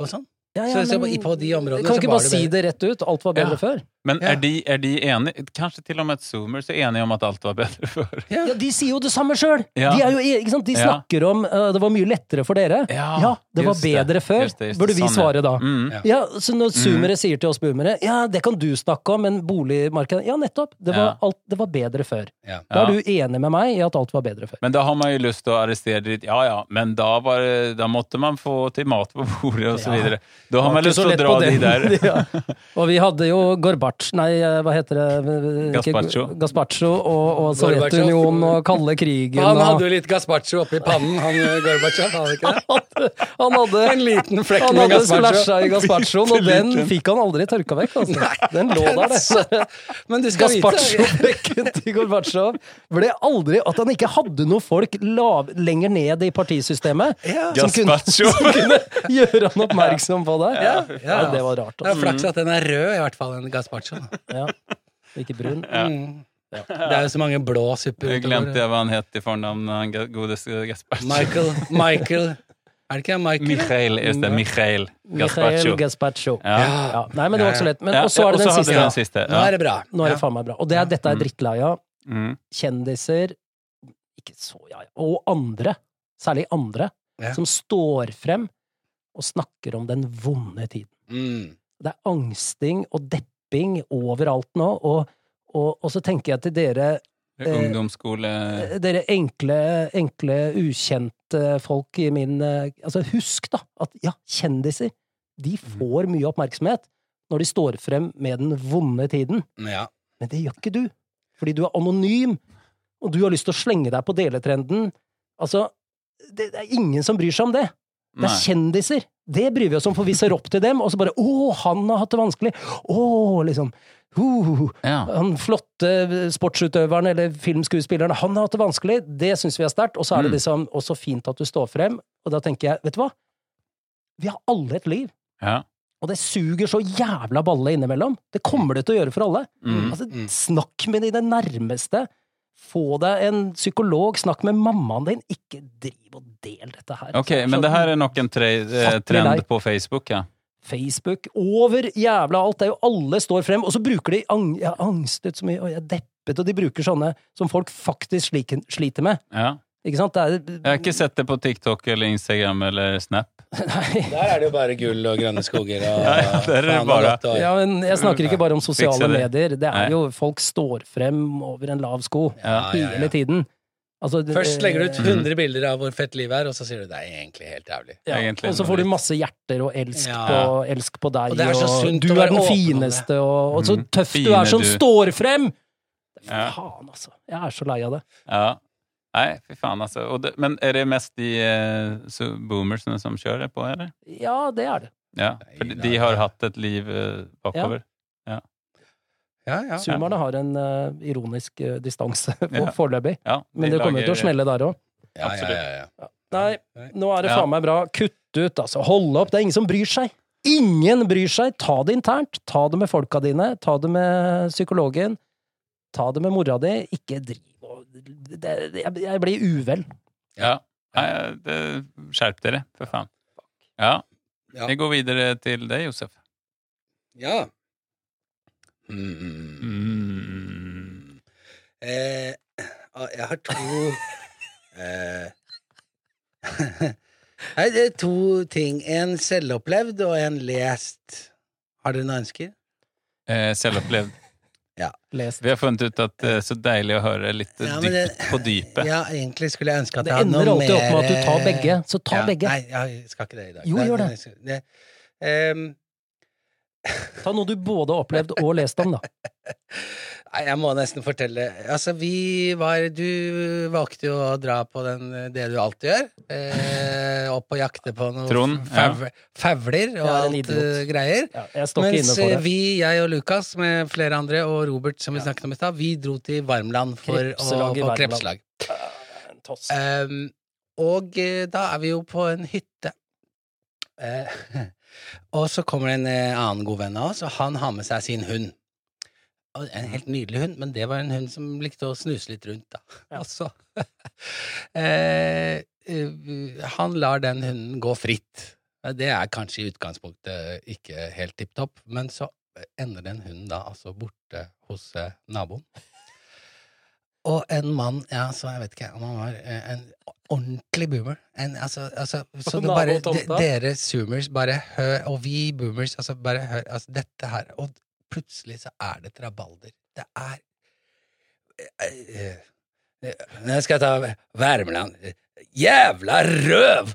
S2: og sånn.
S1: Ja,
S2: Så- så på- på de områdene
S1: Kan
S2: så
S1: vi ikke
S2: var
S1: bare
S2: det
S1: si
S2: bedre?
S1: det rett ut? Alt var bedre
S2: Ja.
S1: før.
S3: Men
S2: Ja.
S3: er de, er de enige Kanskje til og med at zoomers er enige om at alt var bedre før?
S2: Ja.
S1: Ja, de sier jo det samme sjøl!
S3: Ja.
S1: De, er jo, e- ikke sant? de
S3: Ja.
S1: snakker om uh, det var mye lettere for dere.
S3: Ja,
S1: det var
S3: just det.
S1: bedre før.
S3: Just det, just det.
S1: Burde vi
S3: Sånn, ja.
S1: svare da?
S3: Mm.
S2: Ja.
S1: Ja, så når zoomere sier til oss boomere Ja, det kan du snakke om, men boligmarkedet Ja, nettopp! Det var,
S3: Ja.
S1: alt, det var bedre før.
S2: Ja.
S1: Da
S3: Ja.
S1: er du enig med meg i at alt var bedre før.
S3: Men da har man jo lyst til å arrestere ditt Ja ja, men da, var, det- da måtte man få til mat på bordet, og så
S1: Ja.
S3: videre. Da
S1: Det
S3: har
S1: var
S3: man
S1: ikke
S3: lyst
S1: så
S3: til å
S1: lett
S3: dra
S1: på
S3: de
S1: den.
S3: der.
S1: ja. Og vi hadde jo Gorbatsj, nei, eh, hva heter det Eh, Ikke-
S3: Gazpacho.
S1: Gazpacho og, og
S2: Gorbatsjov.
S1: Sovjetunionen og kalde krigen.
S2: Han
S1: og-
S2: hadde jo litt gazpacho oppi pannen, han eh, Gorbatsjov, hadde han ikke det?
S1: han hadde,
S2: En liten flekk
S1: han
S2: med
S1: hadde
S2: gazpacho.
S1: splæsja i gazpachoen, og den fikk han aldri tørka vekk. Altså. Den lå der, det.
S2: Men du skal vite
S1: Gazpacho-flekken til Gorbatsjov ble aldri At han ikke hadde noe folk lav, lenger ned i partisystemet som kunne,
S3: Gazpacho.
S1: som kunne gjøre han oppmerksom på det.
S2: Ja, ja.
S1: Nei, det var rart.
S2: Det er
S1: Altså.
S2: flaks at den er rød, i hvert fall, den gazpachoen.
S1: Ja. Ikke brun.
S2: Mm. Det er jo så mange blå supper
S3: Jeg
S2: utover.
S3: glemte jeg hva han het i fornavn, han ga- godeste Gazpacho.
S2: Michael, Michael Er det ikke Michael?
S3: Michael, just det. Michael
S1: Michael
S3: Gazpacho.
S1: Gazpacho.
S3: Ja.
S1: Ja. Nei, men det var ikke så lett. Men,
S3: Ja,
S1: og så
S3: ja,
S1: er det den
S3: hadde
S1: siste.
S3: vi
S1: da.
S3: den siste.
S2: Nå
S3: Ja.
S2: er det bra.
S1: Nå Eh, er
S2: Ja.
S1: det faen meg bra. Og det er, dette er jeg drittlei av.
S3: Mm.
S1: Kjendiser, ikke så ja, ja, og andre, særlig andre,
S2: Ja.
S1: som står frem og snakker om den vonde tiden.
S2: Mm.
S1: Det er angsting og depping overalt nå, og, og, og så tenker jeg til dere
S3: Ungdomsskole...
S1: Eh, dere enkle, enkle, ukjente folk i min eh, Altså, husk da at ja, kjendiser, de får mye oppmerksomhet når de står frem med den vonde tiden,
S2: Ja.
S1: men det gjør ikke du. Fordi du er anonym, og du har lyst til å slenge deg på deletrenden. Altså, det, det er ingen som bryr seg om det. Det er
S3: Nei.
S1: kjendiser. Det bryr vi oss om, for vi ser opp til dem, og så bare 'Å, han har hatt det vanskelig'. Å, liksom. Uh,
S3: Ja.
S1: han flotte sportsutøveren eller filmskuespilleren, han har hatt det vanskelig. Det syns vi er sterkt. Og så er det
S3: Mm.
S1: liksom også fint at du står frem. Og da tenker jeg, vet du hva? Vi har alle et liv.
S3: Ja.
S1: Og det suger så jævla balle innimellom. Det kommer det til å gjøre for alle.
S3: Mm.
S1: Altså,
S2: Mm.
S1: snakk med dine nærmeste. Få deg en psykolog, snakk med mammaen din. Ikke driv og del dette her.
S3: Ok,
S1: Så-
S3: men det her er nok en tre, eh,
S1: Fattelig lei.
S3: trend på Facebook, ja.
S1: Facebook, over jævla alt. Det er jo alle står frem, og så bruker de ang jeg er angstet så mye, og jeg er deppet, og de bruker sånne som folk faktisk slik, sliter med.
S3: ja.
S1: Ikke sant? Det
S3: Jeg
S1: er
S3: har ikke sett det på TikTok eller Instagram eller Snap.
S1: Nei.
S2: Der er det jo bare gull og grønne skoger og
S3: Ja, ja, der er det
S2: faen,
S3: bare-
S2: godt og-
S1: Ja, men jeg snakker ikke bare om sosiale
S3: Fikser det.
S1: medier. Det
S3: Nei.
S1: er jo folk står frem over en lav sko
S2: Ja, ja, ja.
S1: hele tiden. Altså, det-
S2: Først legger du ut 100 bilder av hvor fett livet er, og så sier du det er egentlig helt jævlig.
S1: ja,
S3: egentlig.
S1: Og så får du masse hjerter og elsk,
S2: Ja.
S1: på, elsk på deg,
S2: Og det er så sunt
S1: du
S2: å
S1: er
S2: være
S1: den
S2: åpen om det.
S1: fineste, og, og så
S3: Mm.
S1: tøff du
S3: Fine
S1: er som
S3: du.
S1: står frem!
S3: Ja.
S1: Faen, altså. Jeg er så lei av det.
S3: Ja. Nei, fy faen, altså. Og det, men er det mest de eh, så boomersene som kjører på, eller?
S1: Ja, det er det.
S3: Ja, for de, de har hatt et liv eh, bakover.
S2: Ja, ja.
S1: Zoomerne har en eh, ironisk eh, distanse for,
S3: Ja.
S1: foreløpig,
S3: Ja, de
S1: men det kommer
S3: lager-
S1: til å smelle der òg.
S2: ja, ja, ja, ja.
S1: Nei, nå er det
S3: Ja.
S1: faen meg bra. Kutt ut, altså. Hold opp. Det er ingen som bryr seg. Ingen bryr seg! Ta det internt. Ta det med folka dine. Ta det med psykologen. Ta det med mora di. Ikke driv og det- det- Jeg jeg blir uvel.
S3: Ja. Nei, det- skjerp dere, for faen. Ja.
S2: Ja.
S3: Vi går videre til deg, Josef.
S2: ja. Mm.
S3: Mm.
S2: Eh, ah, jeg har to eh, Nei, det er to ting. En selvopplevd og en lest. Har dere noen ønsker?
S3: Eh, selvopplevd.
S1: Lest.
S3: Vi har funnet ut at det er så deilig å høre litt
S2: Ja, men det-
S3: dypt på dypet.
S2: Ja, egentlig skulle jeg ønske at
S1: Det
S2: jeg hadde noe
S1: ender
S2: mer eh,
S1: alltid opp med at du tar begge. Så ta
S2: Ja,
S1: begge.
S2: Nei, jeg skal ikke det i dag.
S1: Jo,
S2: Nei,
S1: gjør
S2: nei, nei, det- ehm,
S1: Ta noe du både har opplevd og lest om, da.
S2: Nei, jeg må nesten fortelle. Altså, vi var Du valgte jo å dra på den, eh, det du alltid gjør. Eh, opp og jakte på noen
S3: Trond, ja.
S2: fav, favler og
S1: Ja, en
S2: alt
S1: idiot.
S2: eh, greier.
S1: Ja, jeg står ikke inne
S2: Mens eh,
S1: for det.
S2: vi, jeg og Lukas med flere andre, og Robert som vi snakket om i stad, vi dro til Varmland for
S1: Krepselag i
S2: å få
S1: Varmland.
S2: krepselag.
S1: En toss.
S2: Ehm, Og eh, da er vi jo på en hytte. Eh, og så kommer det en eh, annen god venn av oss, og han har med seg sin hund. Og En helt nydelig hund, men det var en hund som likte å snuse litt rundt, da.
S1: Ja.
S2: Og så eh, eh, Han lar den hunden gå fritt. Eh, Det er kanskje i utgangspunktet ikke helt tipp topp, men så ender den hunden da altså borte hos eh, naboen. Og en mann, ja, så jeg vet ikke, om han var eh, en ordentlig boomer. En, altså, altså, så det
S1: Nabo
S2: bare,
S1: Tomta?
S2: de, dere zoomers bare hør, og vi boomers, altså bare hør, altså dette her, og plutselig så er det trabalder. Det er eh, eh, Nå skal jeg ta Värmland. Jævla røv!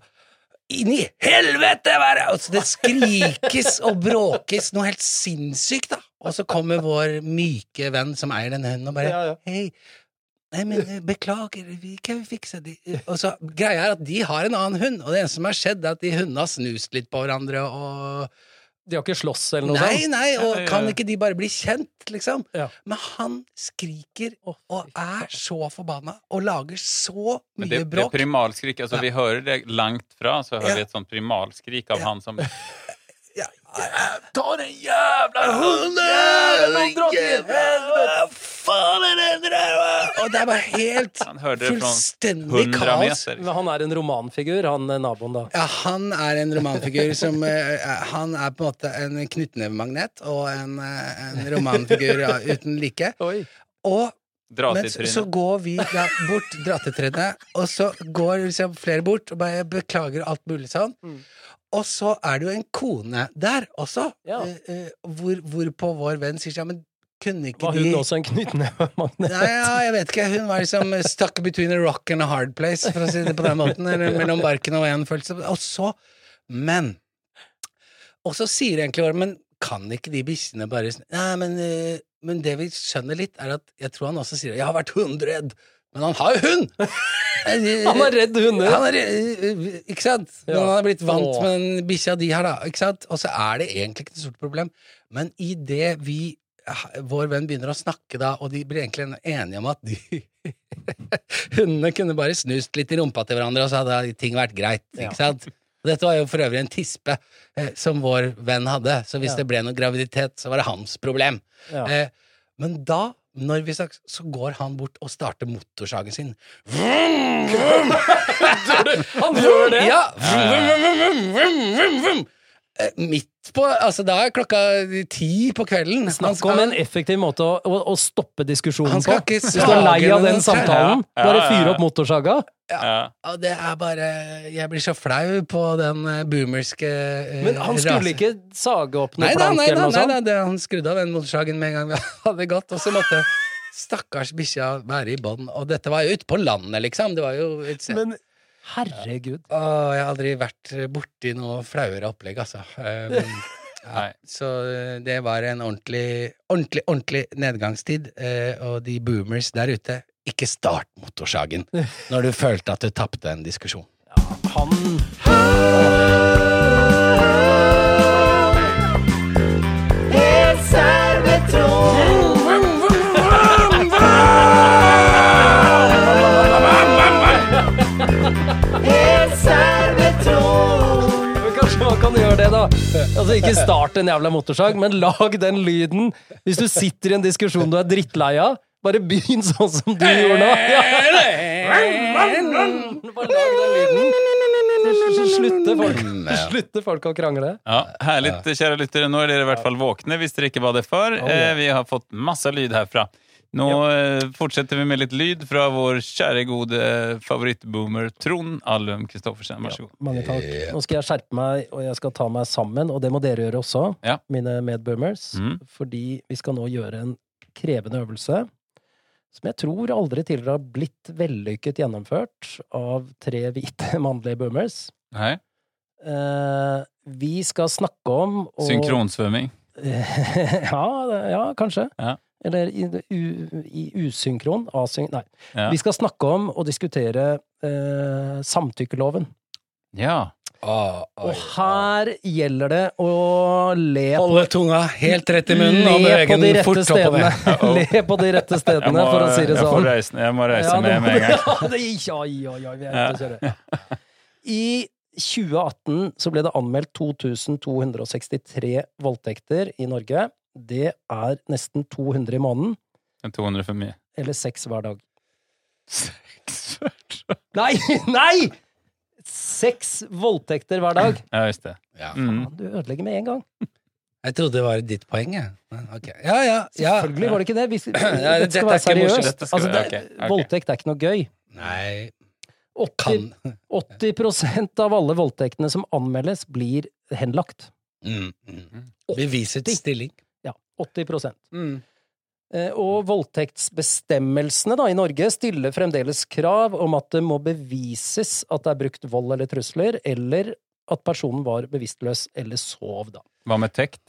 S2: Inn i helvete! hva er det? Altså, det skrikes og bråkes noe helt sinnssykt, da. Og så kommer vår myke venn som eier den hunden, og bare
S1: Ja, ja.
S2: Hei, nei, men eh, beklager, vi kan fikse det. Og så, greia er at de har en annen hund, og det eneste som har skjedd, er at de hundene har snust litt på hverandre og
S1: De har ikke slåss eller noe
S2: Nei,
S1: sånt?
S2: nei, og
S3: Ja, ja,
S2: kan
S3: ja.
S2: ikke de bare bli kjent, liksom?
S1: Ja.
S2: Men han skriker
S1: Å,
S2: og er så forbanna og lager så
S3: Men
S2: mye
S3: det, det er
S2: bråk.
S3: primalskrik. Altså, Vi hører det langt fra, så hører
S2: Ja.
S3: vi et sånt primalskrik av han som
S2: Ta den jævla hunden!
S1: dra til
S2: Hva faen er det dere Og det er bare helt
S3: Han hørte det fra
S2: fullstendig
S3: 100
S2: kaos.
S3: meter.
S1: Men han er en romanfigur, han eh, naboen, da.
S2: Ja, han er en romanfigur som eh, er- Han er på en måte en knyttnevemagnet og en, eh, en romanfigur ja, uten like.
S1: Oi.
S2: Og
S3: Dra
S2: men
S3: til
S2: så, så
S3: trynet.
S2: går vi da bort, dra til trynet, og så går liksom flere bort og bare beklager alt mulig sånn.
S1: Mm.
S2: Og så er det jo en kone der også,
S1: Ja.
S2: eh, eh, hvor, hvorpå vår venn sier sånn Men kunne ikke
S1: Var
S2: de
S1: hun også en knyttnevemagnet?
S2: Nei, ja, jeg vet ikke. Hun var liksom stuck between a rock and a hard place, for å si det på den måten. Eller mellom barken og en følelse. Og så Men. Og så sier egentlig Ormen Kan ikke de bikkjene bare sn- Nei, men, eh, men det vi skjønner litt, er at jeg tror han også sier 'Jeg har vært hundredd', men han har jo hund! Eh,
S1: Han er redd hunder!
S2: Han er, øh, øh, ikke sant?
S1: Ja.
S2: Men han er blitt vant
S1: Åh.
S2: med den bikkja de har, da. Ikke sant? Og så er det egentlig ikke noe stort problem. Men idet vi vår venn begynner å snakke, da, og de blir egentlig enige om at de Hundene kunne bare snust litt i rumpa til hverandre, og så hadde ting vært greit.
S1: Ja.
S2: Ikke sant? Og Dette var jo for øvrig en tispe eh, som vår venn hadde, så hvis
S1: Ja.
S2: det ble noe graviditet, så var det hans problem.
S1: Ja.
S2: Eh, men da, når vi snakker, så går han bort og starter motorsagen sin. Vroom, vroom.
S1: Han gjør det!
S2: Ja! Vroom, vroom, vroom, vroom, vroom, vroom. Eh, Midt på Altså, da er klokka ti på kvelden. Han
S1: Snakk om en effektiv måte å, å, å stoppe diskusjonen
S2: Han skal
S1: på.
S2: ikke
S1: Hvis du er lei
S2: sage
S1: av
S2: noen
S1: den
S2: trær.
S1: samtalen,
S3: Ja, ja,
S1: bare
S3: ja, ja.
S1: fyr opp motorsaga.
S3: Ja.
S2: Ja, det er bare Jeg blir så flau på den eh, boomerske eh,
S1: Men han skulle
S2: rasen.
S1: ikke sage opp noe
S2: Nei da,
S1: plank
S2: nei da,
S1: eller noe
S2: nei da
S1: sånt?
S2: det, han skrudde av den motorsagen med en gang vi hadde gått, og så måtte stakkars bikkja være i bånd. Og dette var jo ute på landet, liksom. Det var jo et sted.
S1: Men herregud.
S2: Å, jeg har aldri vært borti noe flauere opplegg, altså. Um, ja.
S3: Nei.
S2: Så eh, det var en ordentlig, ordentlig, ordentlig nedgangstid. eh, Og de boomers der ute, ikke start motorsagen når du følte at du tapte en diskusjon.
S1: Han Men Kanskje man kan gjøre det, da. Altså Ikke start en jævla motorsag, men lag den lyden. Hvis du sitter i en diskusjon du er drittlei av, bare begynn sånn som du gjorde nå. Ja. Bare lag den lyden. Slutter folk, slutter folk å krangle?
S3: Ja, Herlig, kjære lyttere. Nå er dere i hvert fall våkne, hvis dere ikke var det før. Eh, Vi har fått masse lyd herfra. Nå eh, fortsetter vi med litt lyd fra vår kjære, gode favorittboomer Trond Allum Christoffersen. Vær så god.
S1: Mange takk. Nå skal jeg skjerpe meg, og jeg skal ta meg sammen, og det må dere gjøre også,
S3: Ja.
S1: mine medboomers,
S3: Mm.
S1: fordi vi skal nå gjøre en krevende øvelse som jeg tror aldri tidligere har blitt vellykket gjennomført av tre hvite mannlige boomers.
S3: Hei.
S1: Eh, vi skal snakke om og,
S3: Synkronsvømming.
S1: ja, det- ja, kanskje.
S3: Ja.
S1: Eller i, u, i usynkron. Asyn... Nei.
S3: Ja.
S1: Vi skal snakke om og diskutere eh, samtykkeloven.
S3: ja.
S2: Å, oi,
S1: Og her gjelder det å le på
S2: Holde tunga helt rett i munnen og
S1: Le
S2: bevege
S1: på de
S2: den fort
S1: rette
S2: oppover.
S1: stedene.
S3: Uh-oh.
S1: Le på de rette
S3: Jeg
S1: stedene,
S3: må,
S1: for å si det
S3: jeg får
S1: sånn.
S3: reise, jeg må reise
S1: Ja,
S3: med
S1: nå-
S3: med en gang.
S1: Ja, det gikk, oi, oi, oi, vi er ute å kjøre. I 2018 så ble det anmeldt 2263 voldtekter i Norge. Det er nesten 200 i måneden,
S3: 200 for mye.
S1: eller seks hver dag. Nei! Nei! Seks voldtekter hver dag.
S3: Ja, visst det.
S2: Ja.
S3: Mm.
S1: Faen, Du ødelegger med en gang.
S2: Jeg trodde det var ditt poeng, jeg. Men, ok. Ja, ja, ja.
S1: Selvfølgelig var det ikke det. Vi,
S2: Nei,
S1: dette
S2: dette
S1: skal være
S2: er ikke morsomt.
S1: seriøst.
S3: Dette skal
S1: Altså, det,
S3: være- ok, ok.
S1: Voldtekt er ikke noe gøy.
S2: Nei,
S1: 80,
S2: kan
S1: 80 av alle voldtektene som anmeldes, blir henlagt.
S2: mm, mm. Bevisets stilling.
S1: Ja, 80
S2: Mm.
S1: Eh, Og voldtektsbestemmelsene da, i Norge stiller fremdeles krav om at det må bevises at det er brukt vold eller trusler, eller at personen var bevisstløs eller sov, da.
S3: Hva med tekt?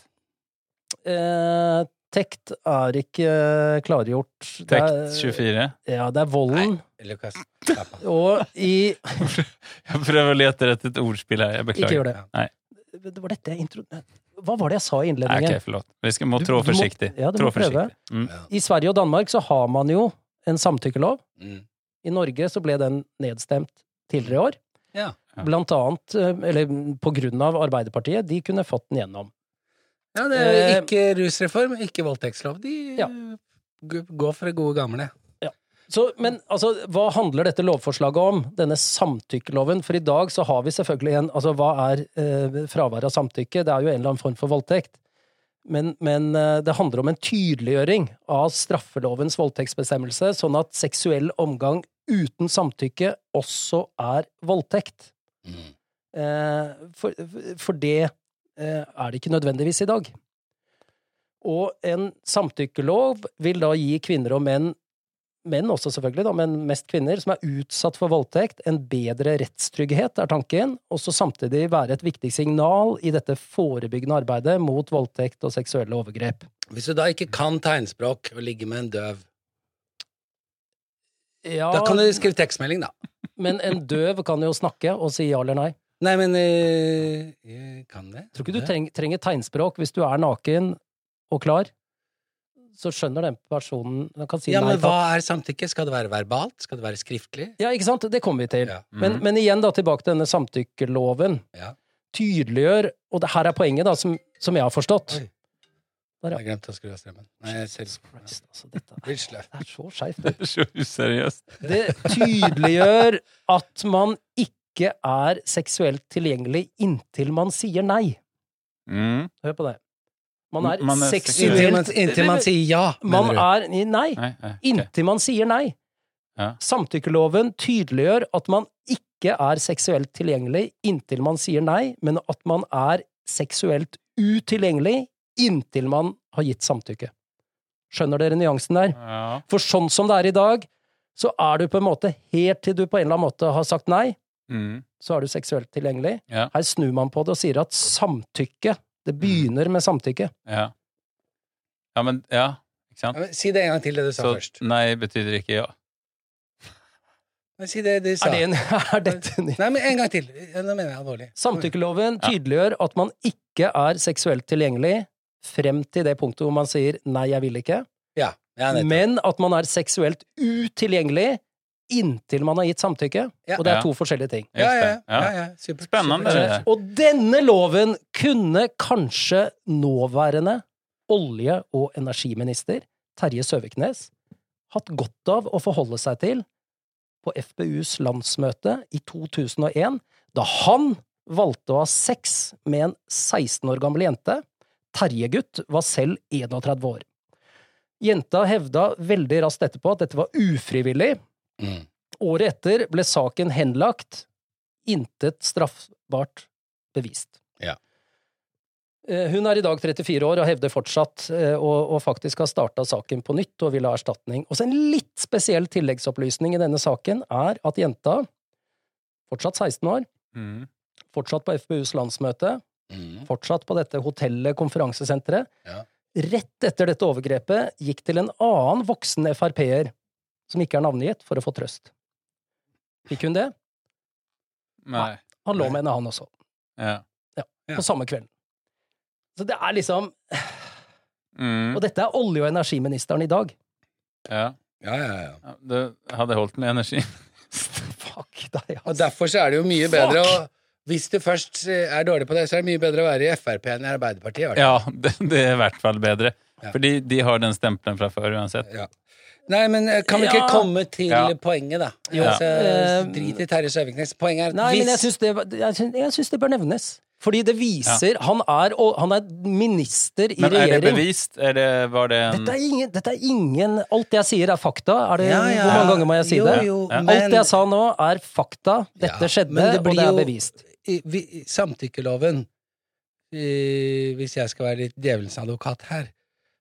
S1: Eh, tekt er ikke eh, klargjort. Det er-
S3: Tekt 24?
S1: Ja, det er volden.
S2: Lukas, slapp av.
S1: Og i
S3: Jeg prøver å lete etter et ordspill her. Jeg
S1: Ikke
S3: beklager.
S1: gjør det.
S3: Nei.
S1: Det var dette jeg intro... Hva var det jeg sa i
S3: Nei,
S1: innledningen?
S3: ok, forlåt. Vi skal, må
S1: Du-
S3: trå
S1: du må-
S3: forsiktig.
S1: ja, du
S3: trå
S1: må prøve.
S3: forsiktig. Mm.
S1: I Sverige og Danmark så har man jo en samtykkelov.
S2: Mm.
S1: I Norge så ble den nedstemt tidligere i år.
S2: Ja.
S3: Ja.
S1: Blant annet, eh, eller på grunn av Arbeiderpartiet, de kunne fått den gjennom.
S2: Ja, det er jo
S1: Eh,
S2: ikke rusreform, ikke voldtektslov. De
S1: Ja.
S2: g- går for det gode gamle.
S1: Så, men altså, hva handler dette lovforslaget om? Denne samtykkeloven? For i dag så har vi selvfølgelig en Altså, hva er eh, fravær av samtykke? Det er jo en eller annen form for voldtekt. Men, men eh, det handler om en tydeliggjøring av straffelovens voldtektsbestemmelse, sånn at seksuell omgang uten samtykke også er voldtekt.
S2: Mm.
S1: Eh, for, for det eh, er det ikke nødvendigvis i dag. Og en samtykkelov vil da gi kvinner og menn, menn også selvfølgelig, da, men mest kvinner, som er utsatt for voldtekt, en bedre rettstrygghet, er tanken, og så samtidig være et viktig signal i dette forebyggende arbeidet mot voldtekt og seksuelle overgrep.
S2: Hvis du da ikke kan tegnspråk og ligger med en døv,
S1: Ja,
S2: da kan du skrive tekstmelding, da.
S1: men en døv kan jo snakke og si ja eller nei.
S2: Nei, men eh, jeg kan det?
S1: Tror ikke du treng, trenger tegnspråk hvis du er naken og klar. Så skjønner den personen Den kan si
S2: Ja,
S1: nei
S2: men
S1: takk.
S2: hva er samtykke? Skal det være verbalt? Skal det være skriftlig?
S1: Ja, ikke sant? Det kommer vi til.
S2: Ja. Mhm.
S1: Men, men igjen da, tilbake til denne samtykkeloven.
S2: Ja.
S1: Tydeliggjør, og det her er poenget da, som, som jeg har forstått.
S2: Oi.
S1: Der, ja.
S2: Jeg glemte å skru av strømmen. Nei, jeg ser
S1: Christ, altså, dette er,
S2: Blir sløv.
S1: det er så skeivt.
S3: Det er så useriøst.
S1: Det tydeliggjør at man ikke er seksuelt tilgjengelig inntil man sier nei.
S3: Mm.
S1: Hør på det. Man er,
S3: Man er seksuelt-
S2: Inntil man,
S1: seksuelt
S2: inntil man sier ja,
S1: Man
S2: mener
S1: er
S2: du.
S1: Nei.
S3: Nei, nei, ok.
S1: Inntil man sier nei.
S3: Ja.
S1: Samtykkeloven tydeliggjør at man ikke er seksuelt tilgjengelig inntil man sier nei, men at man er seksuelt utilgjengelig inntil man har gitt samtykke. Skjønner dere nyansen der?
S3: Ja.
S1: For sånn som det er i dag, så er du på en måte helt til du på en eller annen måte har sagt nei,
S3: Mm.
S1: så er du seksuelt tilgjengelig.
S3: Ja.
S1: Her snur man på det og sier at samtykke, det begynner med samtykke.
S3: ja. Ja, men Ja, ikke
S2: Ja,
S3: sant?
S2: men Si det en gang til, det du sa
S3: Så
S2: først.
S3: nei betyr ikke ja.
S2: Men Si det du sa.
S1: Er det en, er dette nytt?
S2: Nei, men en gang til. Ja, Nå mener jeg alvorlig.
S1: Samtykkeloven tydeliggjør at man ikke er seksuelt tilgjengelig frem til det punktet hvor man sier 'nei, jeg vil ikke',
S2: Ja, ja, nettopp.
S1: men at man er seksuelt utilgjengelig inntil man har gitt samtykke.
S2: Ja.
S1: Og det er
S3: Ja.
S1: to forskjellige ting.
S3: Just
S2: ja, ja,
S3: det.
S2: ja, ja. Supert.
S3: Spennende,
S2: supert.
S3: det der.
S1: Og denne loven kunne kanskje nåværende olje- og energiminister Terje Søviknes hatt godt av å forholde seg til på FPUs landsmøte i 2001, da han valgte å ha sex med en 16 år gammel jente. Terje-gutt var selv 31 år. Jenta hevda veldig raskt etterpå at dette var ufrivillig,
S2: Mm.
S1: Året etter ble saken henlagt. Intet straffbart bevist.
S2: Ja.
S1: Eh, Hun er i dag 34 år og hevder fortsatt, eh, og, og faktisk har starta saken på nytt og vil ha erstatning. Også en litt spesiell tilleggsopplysning i denne saken er at jenta, fortsatt 16 år,
S3: Mm.
S1: fortsatt på FPUs landsmøte,
S2: Mm.
S1: fortsatt på dette hotellet, konferansesenteret.
S2: Ja.
S1: Rett etter dette overgrepet gikk til en annen voksen Frp-er, som ikke er navngitt, for å få trøst. Fikk hun det?
S3: Nei.
S1: Han lå med henne, han også.
S3: Ja.
S2: Ja.
S1: på samme kvelden. Så det er liksom
S3: Mm,
S1: Og dette er olje- og energiministeren i dag.
S3: ja.
S2: Ja, ja, ja.
S3: Ja, Det hadde holdt med energi.
S1: Fuck deg,
S2: Og
S1: ass.
S2: derfor så er det jo mye bedre å
S1: Fuck!
S2: Hvis du først eh, er dårlig på det, så er det mye bedre å være i Frp enn i Arbeiderpartiet. i hvert fall.
S3: Ja, det, det er i hvert fall bedre.
S2: Ja.
S3: Fordi de har den stempelen fra før uansett.
S2: Ja. Nei, men eh, kan vi ikke
S1: Ja.
S2: komme til
S3: Ja.
S2: poenget, da?
S3: Jo.
S2: Altså,
S1: Eh,
S2: drit i Terje Søviknes. Poenget er at
S1: Nei, men jeg
S2: hvis
S1: syns det, var- jeg syns- jeg syns det bør nevnes. Fordi det viser han, er, og han er minister i
S3: Men er det
S1: regjering.
S3: bevist? Er det, var det en
S1: dette, er ingen, dette er ingen Alt jeg sier, er fakta. Er det,
S2: Ja, ja.
S1: Hvor mange ganger må jeg si
S2: Jo,
S1: det?
S2: jo,
S3: Ja.
S2: men-
S1: alt jeg sa nå, er fakta. Dette
S2: Ja,
S1: skjedde,
S2: men det blir
S1: og det er
S2: jo-
S1: bevist.
S2: i- vi- Samtykkeloven eh, Hvis jeg skal være litt djevelens advokat her,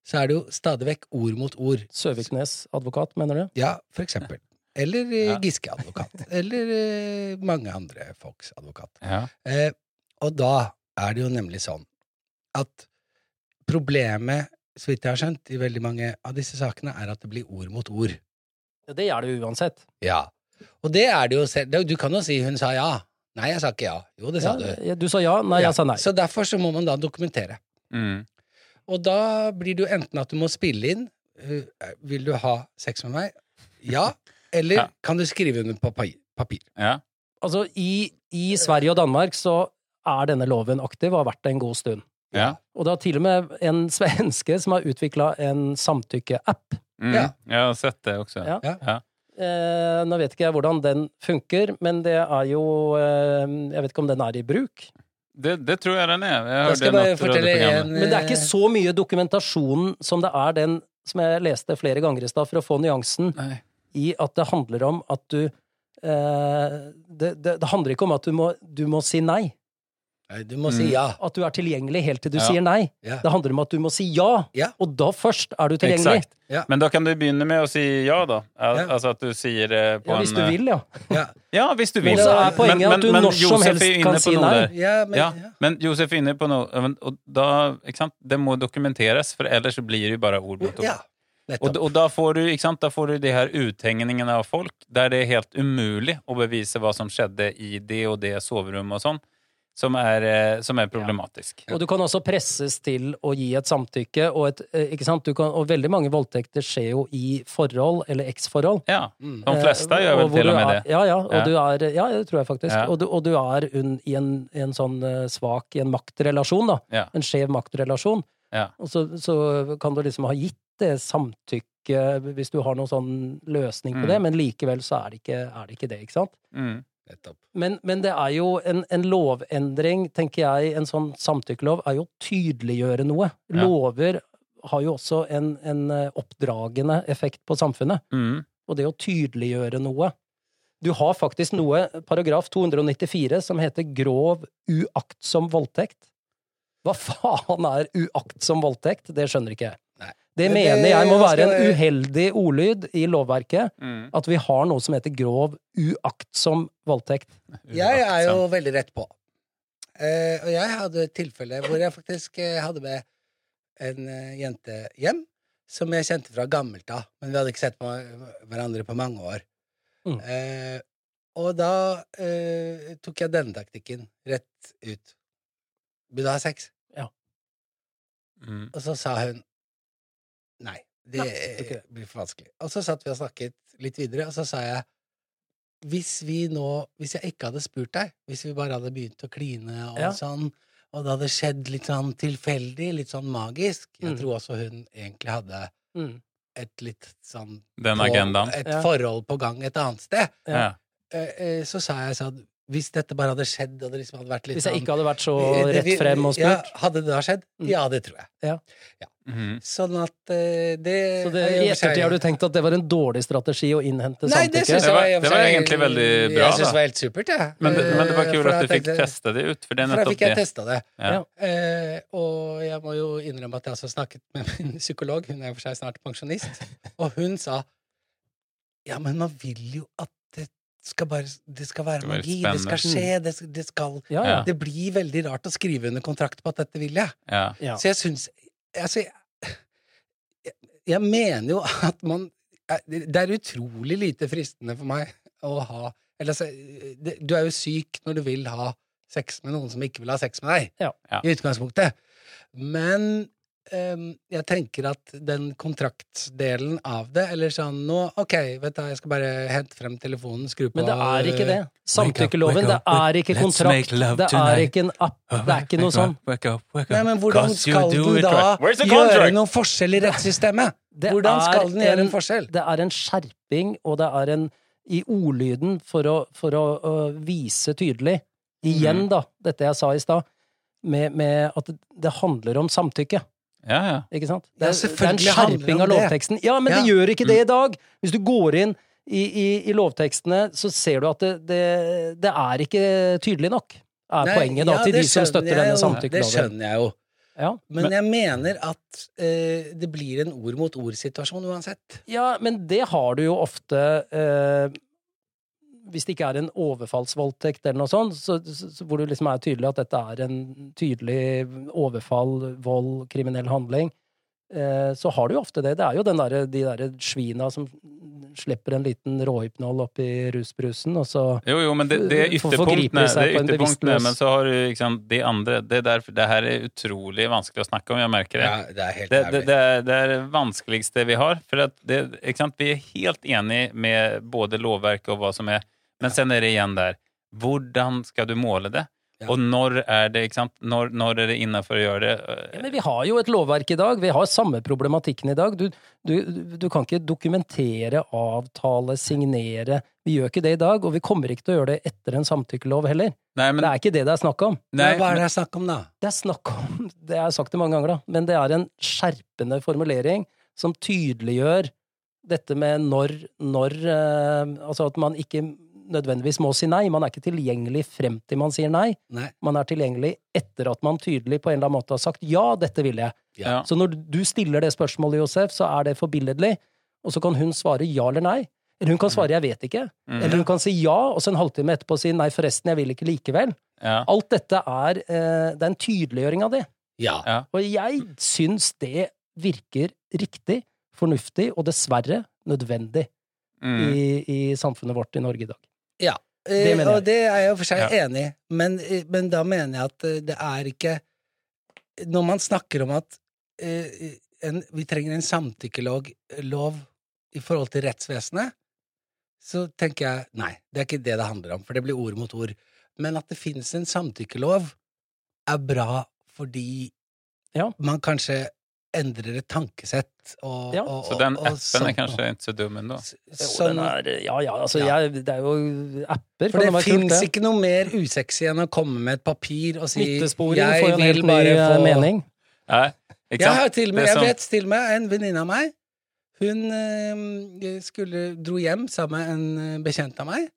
S2: så er det jo stadig vekk ord mot ord.
S1: Søviknes advokat, mener du?
S2: Ja, for eksempel. Eller eh,
S3: Ja.
S2: Giske-advokat. Eller eh, mange andre folks advokat.
S3: ja.
S2: Eh, og da er det jo nemlig sånn at problemet, så vidt jeg har skjønt, i veldig mange av disse sakene, er at det blir ord mot ord.
S1: Ja, Det gjør det jo uansett.
S2: Ja. Og det er det jo selv Du kan jo si 'hun sa ja'. Nei, jeg sa ikke ja. Jo, det sa
S1: Ja,
S2: du.
S1: ja, du sa ja, nei,
S2: Ja,
S1: jeg sa nei.
S2: Så derfor så må man da dokumentere.
S3: Mm.
S2: Og da blir det jo enten at du må spille inn eh, 'Vil du ha sex med meg?' Ja. Eller
S3: Ja.
S2: kan du skrive under på papir? papir?
S3: ja.
S1: Altså, i, I Sverige og Danmark så er denne loven aktiv og har vært det en god stund.
S3: Ja.
S1: Og det har til og med en svenske som har utvikla en samtykkeapp.
S3: Mm.
S2: Ja.
S3: Jeg har sett det også.
S1: Ja.
S2: Ja.
S3: Ja.
S1: Eh, nå vet ikke jeg hvordan den funker, men det er jo eh, Jeg vet ikke om den er i bruk.
S3: Det, det tror jeg den er. Jeg
S2: Da skal jeg
S3: hørte
S2: bare
S3: natt
S2: fortelle en eh,
S3: radioprogrammet.
S1: Men det er ikke så mye dokumentasjon som det er den som jeg leste flere ganger i stad, for å få nyansen
S3: Nei.
S1: i at det handler om at du eh, det, det, det handler ikke om at du må, du må si nei.
S2: Nei, du må si
S3: Mm.
S2: ja.
S1: At du er tilgjengelig helt til du
S3: Ja.
S1: sier nei.
S2: Ja.
S1: Det handler om at du må si ja,
S2: Ja.
S1: og da først er du tilgjengelig.
S3: Exakt.
S2: Ja.
S3: Men da kan du begynne med å si ja, da. Al
S2: Ja.
S3: Altså at du sier det på
S1: Ja, hvis du
S3: en eh,
S1: vil, ja.
S2: ja.
S3: Ja, hvis du vil.
S1: Og så er poenget at du når som
S3: Josef er
S1: helst
S3: jo inne
S1: kan
S3: på
S1: si
S3: noe
S1: nei.
S3: der.
S2: ja, men,
S3: Ja,
S2: ja.
S3: men Josef er inne på noe men- Og da, ikke sant? Det må dokumenteres, for ellers så blir det jo bare ord mot ord.
S2: ja.
S3: Og,
S2: Nettopp.
S3: og da får du, ikke sant, da får du de her uthengingene av folk, der det er helt umulig å bevise hva som skjedde i det og det soverommet og sånn, som er, eh, som er problematisk.
S1: Og du kan også presses til å gi et samtykke, og, et, eh, ikke sant? Du kan, og veldig mange voldtekter skjer jo i forhold eller eksforhold.
S3: Ja.
S2: Mm.
S3: De fleste
S1: Eh,
S3: gjør vel
S1: hvor
S3: til
S1: du
S3: og med
S1: er,
S3: det.
S1: Ja, ja, og
S3: Ja.
S1: du er Ja, det tror jeg faktisk.
S3: Ja.
S1: Og, du, og du er un, i en, i en sånn eh, svak I en maktrelasjon, da.
S3: Ja.
S1: En skjev maktrelasjon.
S3: Ja.
S1: Og så, så kan du liksom ha gitt det samtykke hvis du har noen sånn løsning på
S3: Mm.
S1: det, men likevel så er det ikke, er det, ikke det, ikke sant?
S3: Mm.
S2: Nettopp.
S1: Men, men det er jo en, en lovendring, tenker jeg, en sånn samtykkelov, er jo å tydeliggjøre noe.
S3: Ja.
S1: Lover har jo også en, en eh, oppdragende effekt på samfunnet
S3: Mm.
S1: og det å tydeliggjøre noe. Du har faktisk noe, paragraf 294, som heter grov uaktsom voldtekt. Hva faen er uaktsom voldtekt? Det skjønner ikke jeg.
S2: Nei.
S1: Det
S2: Men
S1: mener
S2: det
S1: jeg må
S2: skal
S1: være en
S2: jeg-
S1: uheldig ordlyd i lovverket,
S3: Mm.
S1: at vi har noe som heter grov uaktsom voldtekt.
S2: Jeg er jo veldig rett på. Eh, og jeg hadde et tilfelle hvor jeg faktisk eh, hadde med en eh, jente hjem som jeg kjente fra gammelt av, men vi hadde ikke sett på hverandre på mange år.
S1: Mm.
S2: Eh, og da eh, tok jeg denne taktikken rett ut. Vil du ha sex?
S3: Mm.
S2: Og så sa hun nei. Det
S1: Nei, det er ikke det.
S2: blir for vanskelig. Og så satt vi og snakket litt videre, og så sa jeg hvis vi nå Hvis jeg ikke hadde spurt deg, hvis vi bare hadde begynt å kline og
S1: Ja.
S2: sånn, og det hadde skjedd litt sånn tilfeldig, litt sånn magisk Jeg
S1: Mm.
S2: tror også hun egentlig hadde
S1: Mm.
S2: et litt sånn
S3: Den
S2: på-
S3: agendaen.
S2: Et
S1: Ja.
S2: forhold på gang et annet sted.
S1: Ja.
S3: Ja.
S2: Eh, eh, Så sa jeg sånn Hvis dette bare hadde skjedd, og det liksom hadde vært litt
S1: Hvis jeg
S2: sånn
S1: ikke hadde vært så
S2: Eh,
S1: rett
S2: vi-
S1: frem og
S2: ja,
S1: spurt.
S2: Hadde det da skjedd?
S1: Mm.
S2: Ja, det tror jeg.
S3: Mhm.
S2: Sånn at eh, det
S1: Så det,
S2: er jo
S1: I
S2: for seg-
S1: ettertid har du tenkt at det var en dårlig strategi å innhente
S2: Nei, det
S1: samtykke?
S2: syns
S3: Det
S2: jeg
S3: var-
S2: i og for
S3: det var
S2: seg-
S3: egentlig veldig bra,
S2: Jeg syns
S3: da.
S2: det var helt supert, jeg.
S3: Men, det- men det var
S2: Eh,
S3: kult
S2: for
S3: at
S2: da
S3: du fikk
S2: tenkte-
S3: testa det ut, for det er
S2: For da
S3: nettopp
S2: fikk jeg
S3: det.
S2: testa det.
S3: Ja.
S2: Eh, og jeg må jo innrømme at jeg også snakket med min psykolog, hun er i og for seg snart pensjonist, og hun sa Ja, men man vil jo at det skal bare Det skal være
S3: Det var
S2: magi,
S3: litt
S2: det skal skje,
S1: spennende.
S2: det, det skal
S1: Ja, ja.
S3: Ja.
S2: Det blir veldig rart å skrive under kontrakt på at dette vil jeg.
S3: Ja.
S1: Ja.
S2: Så jeg syns Altså, jeg, jeg, jeg mener jo at man eh, Det er utrolig lite fristende for meg å ha Eller altså, det, du er jo syk når du vil ha sex med noen som ikke vil ha sex med deg.
S1: Ja.
S3: Ja.
S2: I utgangspunktet. Men ehm, jeg tenker at den kontraktdelen av det, eller sånn nå, ok, vet du, hva, jeg skal bare hente frem telefonen, skru på
S1: Men det er ikke det. Samtykkeloven,
S4: wake
S1: det
S4: up,
S1: er ikke
S4: let's
S1: kontrakt,
S4: make love
S1: det er
S4: tonight.
S1: ikke en app, det er ikke noe sånn.
S4: Wake up, wake up.
S2: Nei, men hvordan
S4: 'Cause you
S2: skal
S4: do
S2: den
S4: it
S2: da
S4: right.
S3: Where's the
S2: gjøre
S3: contract?
S2: noen forskjell i rettssystemet?
S1: Det
S2: Hvordan
S1: er
S2: skal den gjøre en forskjell?
S1: Det er en skjerping, og det er en i ordlyden for å, for å, øh, vise tydelig Igjen,
S2: Mm.
S1: da, dette jeg sa i stad, med, med at det- det handler om samtykke.
S3: Ja, ja.
S1: Ikke sant?
S2: Ja,
S1: Det er, det er en
S2: selvfølgelig handler det
S1: skjerping
S2: om
S1: av
S2: det.
S1: lovteksten. Ja, men det
S2: Ja. Mm.
S1: gjør ikke det i dag! Hvis du går inn i, i, i lovtekstene, så ser du at det, det, det er ikke tydelig nok, er
S2: Nei,
S1: poenget da,
S2: ja,
S1: til
S2: det
S1: de som
S2: skjønner
S1: støtter
S2: jeg
S1: denne
S2: jo, Det
S1: samtykkeloven.
S2: skjønner jeg jo.
S1: Ja.
S2: Men, jeg mener at eh, det blir en ord mot ord-situasjon uansett.
S1: Ja, men det har du jo ofte eh, Hvis det ikke er en overfallsvoldtekt eller noe sånt, så, så, så, hvor det liksom er tydelig at dette er en tydelig overfall, vold, kriminell handling, eh, så har du jo ofte det. Det er jo den derre- de derre svina som slipper en liten råhypnol oppi rusbrusen, og så
S3: Jo, jo, men det, det er
S1: For- forgriper
S3: ytterpunktene. Det
S1: seg
S3: er
S1: på en
S3: ytterpunktene
S1: bevisstløs-
S3: men så har du liksom de andre Det, er derfor, det her er utrolig vanskelig å snakke om, jeg merker det.
S2: det er helt
S3: Det, det, det, er, det er det vanskeligste vi har. For at det, ikke sant? Vi er helt enige med både lovverket og hva som er, men sen er det igjen der. Hvordan skal du måle det?
S2: Ja.
S3: Og når er det ikke sant? Når, når er det innafor å gjøre det?
S1: Ja, men vi har jo et lovverk i dag. Vi har samme problematikken i dag. Du, du, du kan ikke dokumentere, avtale, signere. Vi gjør ikke det i dag, og vi kommer ikke til å gjøre det etter en samtykkelov heller.
S3: Eh, Nei, men,
S1: Det er ikke det det er snakk om.
S3: nei,
S2: Hva er det jeg snakker om, da?
S1: Det er snakk om, det har jeg sagt det mange ganger, da, men det er en skjerpende formulering som tydeliggjør dette med når, når eh, Altså at man ikke nødvendigvis må si nei. Man er ikke tilgjengelig frem til man sier nei.
S2: Nei.
S1: Man er tilgjengelig etter at man tydelig på en eller annen måte har sagt ja, dette vil jeg.
S3: Ja.
S1: Så når du stiller det spørsmålet, Josef, så er det forbilledlig. Og så kan hun svare ja eller nei. Eller hun kan svare 'jeg vet ikke'.
S3: Mm.
S1: Eller hun kan si ja, og så en halvtime etterpå si 'nei, forresten, jeg vil ikke likevel'.
S3: ja.
S1: Alt dette er, eh, det er en tydeliggjøring av det.
S2: Ja.
S1: Og jeg syns det virker riktig, fornuftig og dessverre nødvendig
S3: Mm.
S1: i, i samfunnet vårt i Norge i dag.
S2: Eh,
S1: Det mener jeg.
S2: Og det er jeg jo for seg
S3: Ja.
S2: enig i, men, eh, men da mener jeg at eh, det er ikke Når man snakker om at eh, en, vi trenger en samtykkelov lov i forhold til rettsvesenet, så tenker jeg nei, det er ikke det det handler om, for det blir ord mot ord. Men at det fins en samtykkelov, er bra fordi
S1: Ja.
S2: man kanskje endrer et tankesett og,
S1: Ja.
S2: og,
S3: Så den
S2: og- sånn. og
S3: appen er
S2: sånt noe.
S3: kanskje ikke så dum ennå.
S2: S-
S1: Jo, den
S2: sånn-
S1: er, ja, ja, altså,
S2: Ja.
S1: Jeg, det er jo apper.
S2: For
S1: kan
S2: det
S1: være kult,
S2: fins ikke noe mer usexy enn å komme med et papir og si
S1: Nyttesporing får jo en helt ny eh, mening.
S3: Nei, ikke
S2: Jeg, har
S3: sant?
S2: til og
S3: Det
S2: med,
S3: er
S2: jeg
S3: sånn-
S2: vet til og med en venninne av meg Hun eh, skulle, dro hjem sammen med en eh, bekjent av meg.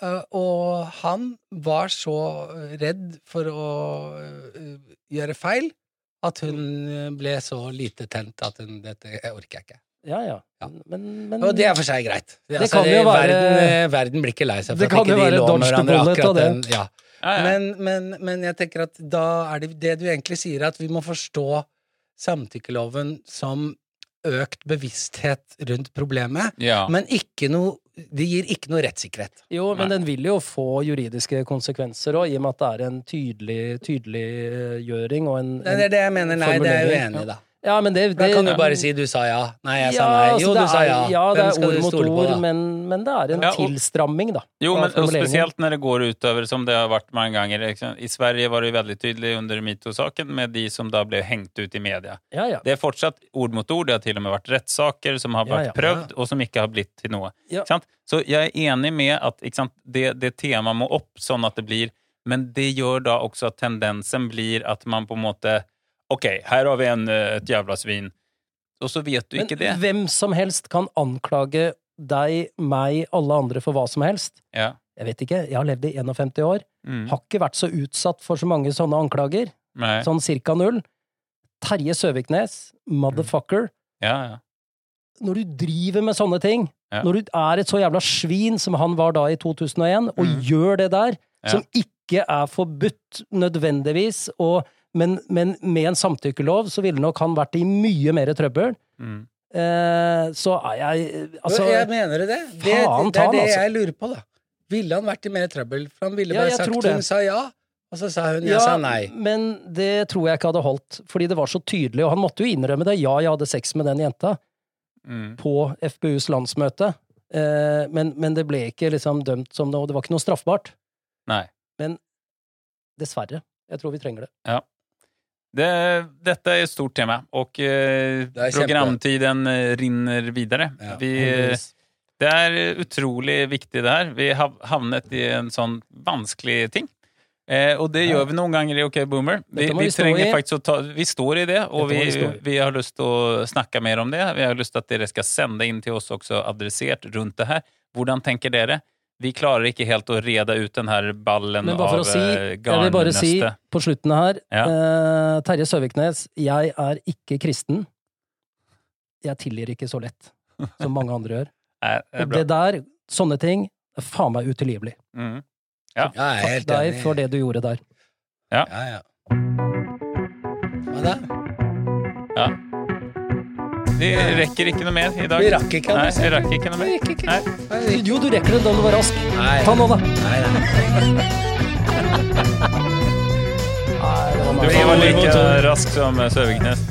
S2: eh, og han var så redd for å eh, gjøre feil at hun eh, ble så lite tent at hun Dette jeg orker jeg ikke.
S1: Ja, ja.
S2: Ja.
S1: Men, men
S2: Og det er for seg greit. Altså, Det,
S1: kan jo være-
S2: verden, eh, verden blir ikke lei seg for
S1: Det
S2: at
S1: kan
S2: ikke
S1: jo
S2: de
S1: være
S2: låner
S1: dodge to
S2: hverandre
S1: bullet av
S2: akkurat den.
S1: det.
S2: Ja.
S3: Ja, ja.
S2: Men, men, men jeg tenker at da er det det du egentlig sier, at vi må forstå samtykkeloven som økt bevissthet rundt problemet,
S3: ja.
S2: men ikke noe Det gir ikke noe rettssikkerhet.
S1: Jo, men
S3: Nei.
S1: den vil jo få juridiske konsekvenser òg, i og med at det er en tydelig tydeliggjøring og en,
S2: Det er
S1: en
S2: det jeg mener. Nei, det er jeg
S1: Formulering,
S2: uenig i, da.
S1: Ja, men det,
S2: Da
S1: det
S2: kan du bare si 'du sa ja'. Nei, jeg sa
S1: Ja,
S2: nei.
S1: altså,
S2: Jo,
S1: det
S2: du sa
S1: er-
S2: ja.
S1: Ja, det
S2: Hvem
S1: er
S2: skal
S1: ord
S2: du
S1: mot
S2: stole på,
S1: ord,
S2: da?
S1: men, men det er en
S3: Ja, og-
S1: tilstramming, da.
S3: Jo,
S1: av
S3: men og
S1: formuleringen.
S3: spesielt når det går utover, som det har vært mange ganger. Liksom. I Sverige var det jo veldig tydelig under metoo-saken med de som da ble hengt ut i media.
S1: Ja, ja.
S3: Det er fortsatt ord mot ord. Det har til og med vært rettssaker som har
S1: Ja,
S3: vært
S1: ja.
S3: prøvd, og som ikke har blitt til noe.
S1: Ja.
S3: Ikke Sant? Så jeg er enig med at ikke sant, det, det temaet må opp, sånn at det blir Men det gjør da også at tendensen blir at man på en måte Ok, her har vi en, eh, et jævla svin. Og så vet du
S1: Men
S3: ikke det.
S1: hvem som helst kan anklage deg, meg, alle andre for hva som helst.
S3: Ja.
S1: Jeg vet ikke, jeg har levd i 51 år.
S3: Mm.
S1: Har ikke vært så utsatt for så mange sånne anklager.
S3: Nei.
S1: Sånn cirka null. Terje Søviknes, motherfucker.
S3: Ja, ja.
S1: Når du driver med sånne ting,
S3: Ja.
S1: når du er et så jævla svin som han var da i 2001, og
S3: Mm.
S1: gjør det der,
S3: Ja.
S1: som ikke er forbudt nødvendigvis, og, men, men med en samtykkelov så ville nok han vært i mye mer trøbbel,
S3: Mm.
S1: eh, så er jeg altså, eh, Altså
S2: Jo, jeg mener det. Det,
S1: faen
S2: det
S1: ta
S2: er
S1: han,
S2: det
S1: altså.
S2: jeg lurer på, da. ville han vært i mer trøbbel. For han ville
S1: Ja,
S2: bare
S1: jeg tror
S2: sagt
S1: det.
S2: hun sa ja, og så sa hun jeg
S1: Ja,
S2: sa nei.
S1: Men det tror jeg ikke hadde holdt, fordi det var så tydelig, og han måtte jo innrømme det. Ja, jeg hadde sex med den jenta
S3: Mm.
S1: på FPUs landsmøte, eh, men, men det ble ikke liksom dømt som noe, det var ikke noe straffbart.
S3: Nei.
S1: Dessverre. Jeg tror vi trenger det.
S3: Det, dette er et stort tema, og eh,
S2: Det er kjempe-
S3: programtiden eh, rinner videre.
S2: Ja,
S3: Vi,
S1: heldigvis.
S3: det er utrolig viktig det her. Vi har havnet i en sånn vanskelig ting. Eh, og det gjør vi noen ganger i OK Boomer. Vi,
S1: Dette må
S3: vi,
S1: vi stå
S3: trenger
S1: i.
S3: faktisk å ta, vi står i det, og
S1: Dette
S3: vi,
S1: må vi stå i.
S3: vi har lyst til å snakke mer om det. Vi har lyst til at dere skal sende inn til oss også adressert rundt det her. Hvordan tenker dere? Vi klarer ikke helt å reda ut den her ballen
S1: Men bare for
S3: av
S1: å si,
S3: eh,
S1: jeg vil bare si
S3: garnnøste.
S1: på slutten her,
S3: Ja.
S1: eh, Terje Søviknes, jeg er ikke kristen. Jeg tilgir ikke så lett som mange andre gjør.
S3: Nei, det er
S1: Og
S3: bra.
S1: det der, sånne ting, er faen meg utilgivelig.
S3: Mm.
S2: Ja, jeg er
S1: Takk
S2: helt
S1: deg
S2: enig.
S1: for det du gjorde der.
S2: Ja, ja. Hva da?
S3: Ja. Vi rekker ikke noe mer i dag.
S2: Vi rakk ikke,
S3: Nei,
S2: Anders.
S3: vi rakk ikke noe mer.
S2: Vi rakk ikke.
S3: Nei.
S2: Nei,
S1: Jo, du rekker det da du var rask.
S2: Nei.
S1: Ta nå, da.
S2: nei, nei.
S3: Du får være like rask som eh, Søviknes.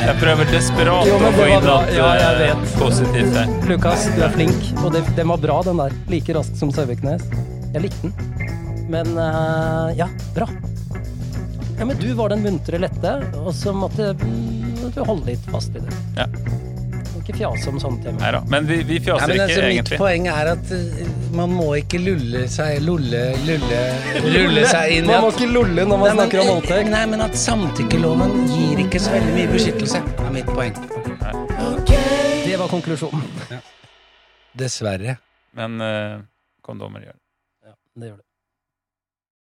S3: Jeg prøver desperat
S1: Jo, men
S3: å få
S1: det var
S3: inn
S1: bra.
S3: alt
S1: Ja, jeg
S3: eh, positivt her.
S1: Lukas, du er flink, og det, den var bra, den der. Like rask som Søviknes. Jeg likte den. Men eh, ja, bra. Ja, men du var den muntre lette, og så måtte mm, måtte du holde litt fast i det.
S3: Ja.
S1: Ikke fjase om sånne tema.
S3: Neida. Men vi, vi
S2: Ja,
S3: fjaser
S2: men altså,
S3: ikke,
S2: mitt
S3: egentlig.
S2: poeng er at eh, man må ikke lulle seg Lulle, lulle, lulle seg inn i
S1: Man må
S2: at-
S1: ikke lulle når man
S2: Nei, men- eh,
S1: snakker om voldtekt.
S2: Nei, men at samtykkeloven gir ikke så veldig mye beskyttelse, er mitt poeng.
S1: Det var konklusjonen.
S2: Dessverre.
S3: Men eh, kondomer gjør det.
S1: Ja, det gjør det.